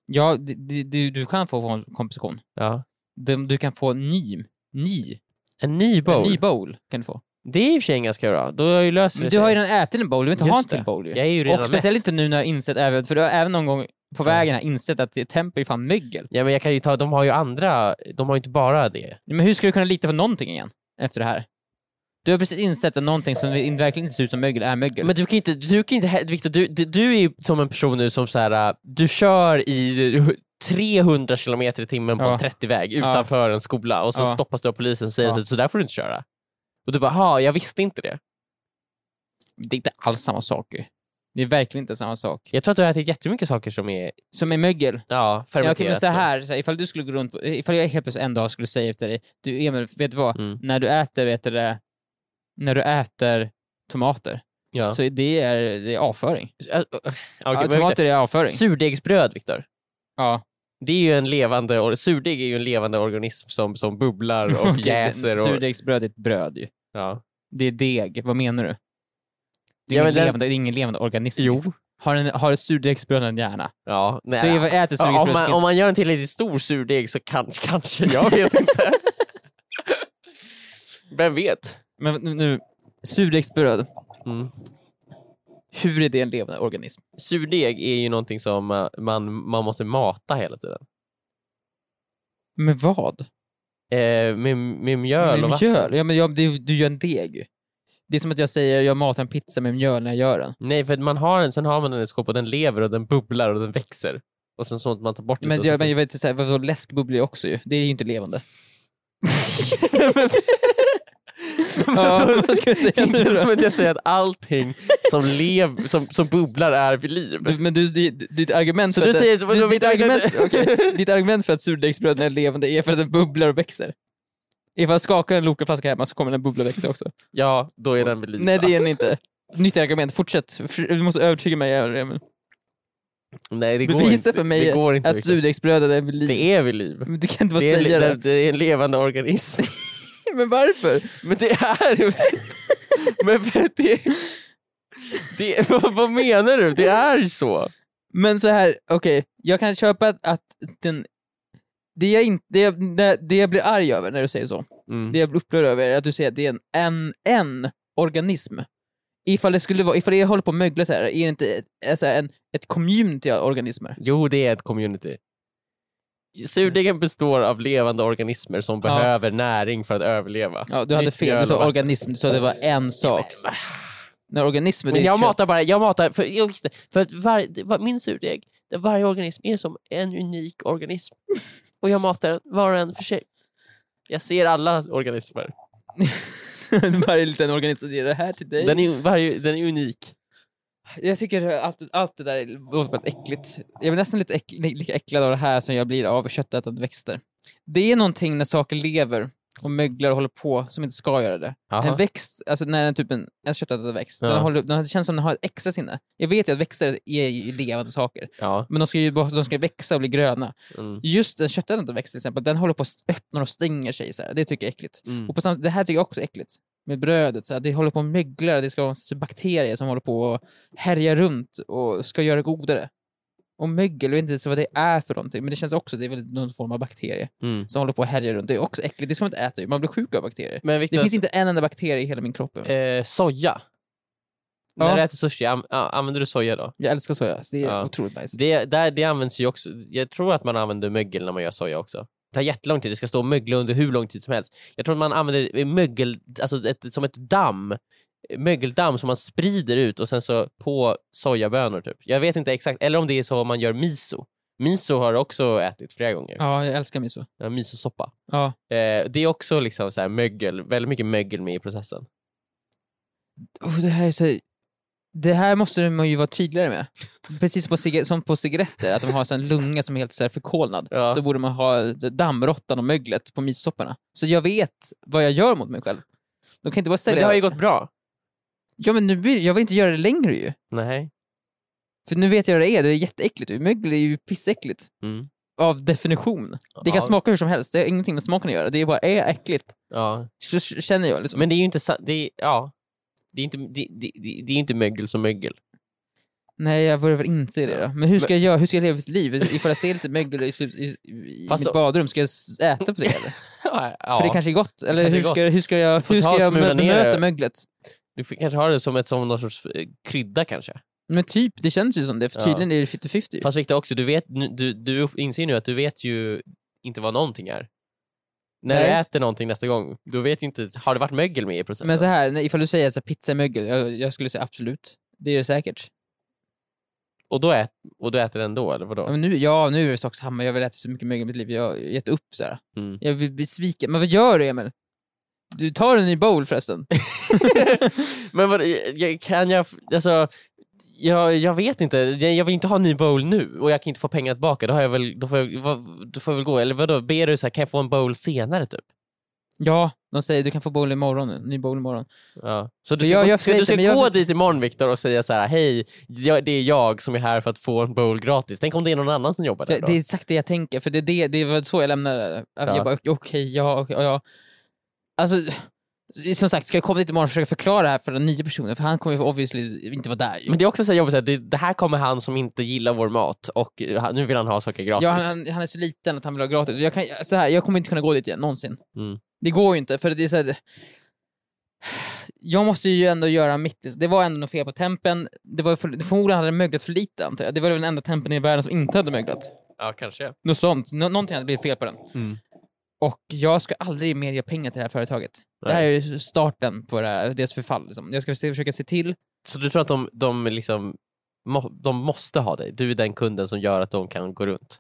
Ja, d- d- du, du kan få kompensation. Ja. Du, du kan få ny, ny, En ny bowl. en ny bowl. Kan du få. Det är i och för sig ganska bra. Då har jag ju löst Men det du sig. har ju redan ätit en bowl, du vill inte Just ha en till det. bowl ju. Jag är ju Och redan med. speciellt inte nu när jag har insett, även- för du har även någon gång på vägen här insett att det- tempo är fan mögel. Ja, men jag kan ju ta, de har ju andra, de har ju inte bara det. Men hur ska du kunna lita på någonting igen efter det här? Du har precis insett att någonting som in- verkligen inte ser ut som mögel är mögel. Men du kan inte, du kan inte, he- Victor, du, du, du är ju som en person nu som så här, äh, du kör i eh, 300 kilometer i timmen på Ja. en 30-väg Ja. utanför en skola och så Ja. stoppas du av polisen och säger Ja. så, så där får du inte köra. Och du bara, ha, jag visste inte det. Det är inte alls samma sak ju. Det är verkligen inte samma sak. Jag tror att du har ätit jättemycket saker som är Som är mögel. ja, Jag fermenterat. kan säga här, så här, ifall du skulle gå runt, på- ifall jag helt plötsligt en dag skulle säga efter dig, du Emil, vet du vad? Mm. När du äter, vet du det, när du äter tomater, Ja. så det är, det är avföring. Äh, äh, okej, ja, men tomater är avföring. Victor, surdegsbröd, Viktor. Ja. Det är ju en levande, or- surdeg är ju en levande organism som, som bubblar och Okej, jäser. Och, Surdegsbröd är ett bröd ju. ja. Det är deg. Vad menar du? Det är, Ja, ingen, men den- levande, det är ingen levande organism. Jo. Har, en, har ett surdegsbröd en hjärna? Ja, nej. Så jag äter Ja, om, surdegsbröd. man, finns- om man gör en tillräckligt stor surdeg så kanske, kanske, jag vet inte. Vem vet? Men nu, nu, surdegsbröd. Mm. Hur är det en levande organism? Surdeg är ju någonting som eh, man, man måste mata hela tiden. Med vad? Eh, med, med mjöl och med vatten. mjöl? Ja, men jag, du, du gör en deg ju. Det är som att jag säger jag matar en pizza med mjöl när jag gör den. Nej, för att man har en, sen har man den i ett skåp och den lever och den bubblar och den växer. Och sen så att man tar bort Men, lite. jag, och så- men jag vet, inte, så här, vadå, läsk bubblar ju också ju. Det är ju inte levande. ja, vad ska Det jag säga är nu inte då? som att jag säger att allting som, lev, som, som bubblar är vid liv. Du, men du, di- ditt argument Så för du att säger- det, vadå, ditt, mitt ditt, argument, argument- okej, ditt argument för att surdegsbröden är levande är för att den bubblar och växer. Ifall jag skakar en Loka-flaska hemma så kommer den bubbla och växa också. Ja, då är den vid liv. Nej det är den inte. Nytt argument, fortsätt. F- Du måste övertyga mig. Emil. Nej det går Bevisa inte. för mig det går inte. att Victor. surdegsbröden är vid liv. det är vid liv. Men du kan inte bara Det är, li- säga det, det. det är en levande organism. Men varför? Men det är ju... Men för att det... det vad, vad menar du? Det är ju så. Men så här, okej, jag kan köpa att, att den... Det jag, inte, det, jag, det- det jag blir arg över när du säger så, Mm. det jag blir upprörd över är att du säger att det är en, en, en organism. Ifall det skulle vara, ifall det håller på att mögla så här, är det inte ett, alltså en, ett community av organismer? Jo, det är ett community. Surdegen består av levande organismer som Ja. behöver näring för att överleva. Ja, du hade Nytt fel, mjöl du och sa vatten. organism, du sa att det var en sak. När organismer, det Men är jag kött. matar bara, jag matar, för, jo, just det, för att var, det var- min surdeg, där varje organism är som en unik organism. Och jag matar var och en för sig. Jag ser alla organismer. Varje liten organism säger det här till dig. Den är, varje, den är unik. Jag tycker allt, allt det där låter väldigt äckligt. Jag är nästan lite äck, li- lika äcklad av det här som jag blir av köttätande växter. Det är någonting när saker lever och möglar och håller på som inte ska göra det. En växt, alltså när den typ en, en köttätande växt, Ja. den håller, upp- den känns som den har ett extra sinne. Jag vet ju att växter är ju levande saker, Ja. men de ska ju bara- de ska växa och bli gröna. Mm. Just en köttätande växt till exempel, den håller på att öppna och stänger sig. Så här. Det tycker jag är äckligt. Mm. Och på samma, det här tycker jag också är äckligt. Med brödet, så här, det håller på att mögla, det ska vara en sorts bakterier som håller på och härjar runt och ska göra det godare. Och mögel, jag vet inte ens vad det är för någonting, men det känns också, det är väl någon form av bakterie Mm. som håller på och härjar runt. Det är också äckligt, det ska man inte äta ju, man blir sjuk av bakterier. Men Det Victor, finns inte en enda bakterie i hela min kropp. eh, soja. Ja. När du äter sushi, an- a- använder du soja då? Jag älskar soja, så det är Ja. otroligt nice. Det, där, det används ju också, jag tror att man använder mögel när man gör soja också. Det tar jättelång tid, det ska stå och mögla under hur lång tid som helst. Jag tror att man använder mögel, alltså ett, som ett damm, mögeldamm som man sprider ut och sen så på sojabönor typ. Jag vet inte exakt, eller om det är så man gör miso. Miso har jag också ätit flera gånger, Ja, jag älskar miso. ja. misosoppa. Ja. Eh, det är också liksom så här mögel, väldigt mycket mögel med i processen. Oh, det här är så... Det här måste man ju vara tydligare med. Precis på ciga- som på cigaretter, att de har så en lunga som är helt så här förkolnad. Ja. Så borde man ha dammråttan och möglet på missopparna. Så jag vet vad jag gör mot mig själv. De kan inte bara Men sälja... det har ju gått bra. Ja men nu blir... jag vill inte göra det längre ju. Nej. För nu vet jag vad det är, det är jätteäckligt ju. Mögel är ju pissäckligt. Mm. Av definition. Det kan ja. smaka hur som helst, det har ingenting med smaken att göra. Det är bara är äckligt. Ja. Så så känner jag liksom. Men det är ju inte sant. Det är, ja. det är inte, det, det, det, det är inte mögel som mögel. Nej jag börjar väl inse det Ja. då. Men hur ska jag göra? Hur ska jag leva mitt liv? Ifall jag ser lite mögel i, i, i Fast mitt då- badrum, ska jag s- äta på det eller? ja. För det kanske är gott? Eller kanske är hur, Ska, hur ska jag, får hur ta ska och jag smula bemöta ner det. möglet? Du får kanske har det som, ett, som någon sorts eh, krydda kanske. Men typ, det känns ju som det, för Ja. tydligen är det 50-50. Fast Viktor också, du, vet, nu- du, du inser ju nu att du vet ju inte vad någonting är. När du Nej. äter någonting nästa gång, du vet ju inte, har det varit mögel med i processen? Men så här, nej, ifall du säger att så här, pizza är mögel, jag, jag skulle säga absolut. Det är det säkert. och, då ät, och du äter den då, eller vadå? Ja, men nu, ja, nu är det sak samma. Jag vill äta så mycket mögel i mitt liv. Jag har gett upp så här. Mm. Jag blir besviken. Men vad gör du, Emil? Du tar en ny bowl förresten. Men vad, jag, kan jag, alltså, jag, jag vet inte, jag, jag vill inte ha en ny bowl nu och jag kan inte få pengar tillbaka, då, har jag väl, då, får, jag, vad, då får jag väl gå, eller vadå, ber du så här, kan jag få en bowl senare typ? Ja, de säger du kan få bowl imorgon. En ny bowl imorgon. Ja. Så du Men ska, jag- gå- jag ska, du försökte, ska men jag- gå dit imorgon Viktor och säga så här: hej, jag, det är jag som är här för att få en bowl gratis. Tänk om det är någon annan som jobbar Det, där då? det är exakt det jag tänker, för det, är det, det var så jag lämnade Ja. Jag bara, okej, ja, okej, ja. Alltså, som sagt, ska jag komma dit imorgon och försöka förklara det här för den nya personen? För han kommer ju obviously inte vara där ju. Men det är också så här jobbigt, så här, det, det här kommer han som inte gillar vår mat och eh, han- nu vill han ha saker gratis. Ja, han, han, han är så liten att han vill ha gratis. Jag, kan, så här, jag kommer inte kunna gå dit igen, någonsin. Mm. Det går ju inte, för det är så här, Jag måste ju ändå göra mitt. liksom. Det var ändå något fel på tempen. Det var för, förmodligen hade den möglat för lite, antar jag. Det var den enda tempen i världen som inte hade möglat. ja kanske. Något sånt. Nå- någonting hade blivit fel på den. Mm. Och jag ska aldrig mer ge pengar till det här företaget. Det här är ju starten på det här, deras förfall. Liksom. Jag ska se- försöka se till... Så du tror att de, de, liksom, må, de måste ha dig? Du är den kunden som gör att de kan gå runt?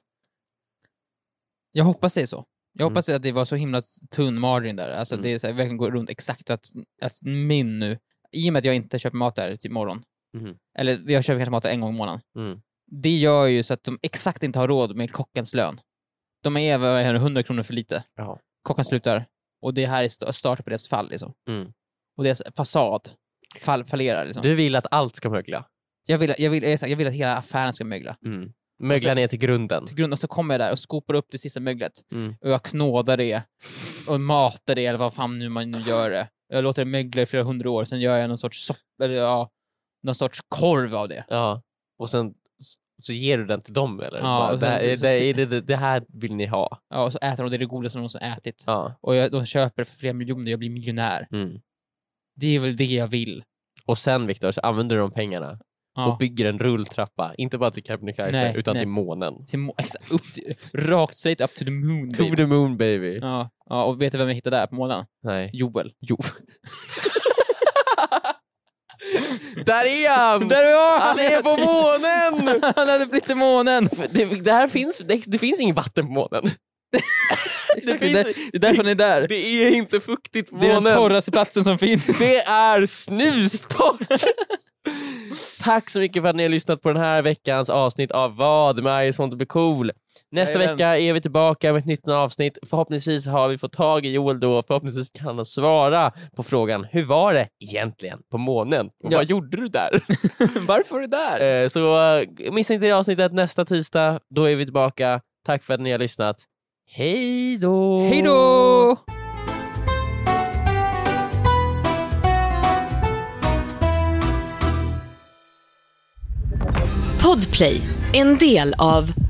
Jag hoppas det är så. Jag hoppas att det var så himla tunn margin där. Alltså Mm. det är så här, verkligen går runt exakt att, att min nu... I och med att jag inte köper mat där till imorgon. Mhm. Eller jag köper kanske mat där en gång i månaden. Mm. Det gör ju så att de exakt inte har råd med kockens lön. De är vad är det, 100 kronor för lite. Ja. Kocken slutar. Och det här är st- starten på deras fall liksom. Mm. Och deras fasad fall, fallerar liksom. Du vill att allt ska mögla? Jag vill, jag, vill, exakt, jag vill att hela affären ska mögla. Mm. Mögla Och så- ner till grunden. Till grunden, och så kommer jag där och skopar upp det sista möglet. Mm. Och jag knådar det. Och matar det, eller vad fan nu man nu gör det. Jag låter det mögla i flera hundra år, sen gör jag någon sorts soppa, eller ja, någon sorts korv av det. Ja. Och sen så ger du den till dem eller? Ja, Bara, och det, sen här, så- det, så- det, det, det här vill ni ha. Ja, och så äter de det, det godaste någon som ätit. Ja. Och jag, de köper för flera miljoner, jag blir miljonär. Mm. Det är väl det jag vill. Och sen Viktor, så använder du de pengarna Ja. och bygger en rulltrappa. Inte bara till Kebnekaise Nej, utan nej. till månen. till, mo- exakt, upp till, rakt straight up to the moon. To baby. the moon baby. Ja, ja, och vet du vem jag hittade där på månaden? Nej. Joel. Jo. Där är han! Där var Han är på månen! Han hade blivit i månen! Det, det, här finns, det, det finns inget vatten på månen. Exakt, det, finns- är där, det är därför han är där. Det är inte fuktigt på Det är den månen. torraste platsen som finns. Det är snustort! Tack så mycket för att ni har lyssnat på den här veckans avsnitt av Vad med Arg sånt blir cool. Nästa Jajamän. vecka är vi tillbaka med ett nytt avsnitt. Förhoppningsvis har vi fått tag i Joel då. Förhoppningsvis kan han svara på frågan hur var det egentligen på månen? Och Ja. Vad gjorde du där? Varför är du där? Eh, så eh, missa inte det avsnittet nästa tisdag. Då är vi tillbaka. Tack för att ni har lyssnat. Hej då! Hej då! Podplay, en del av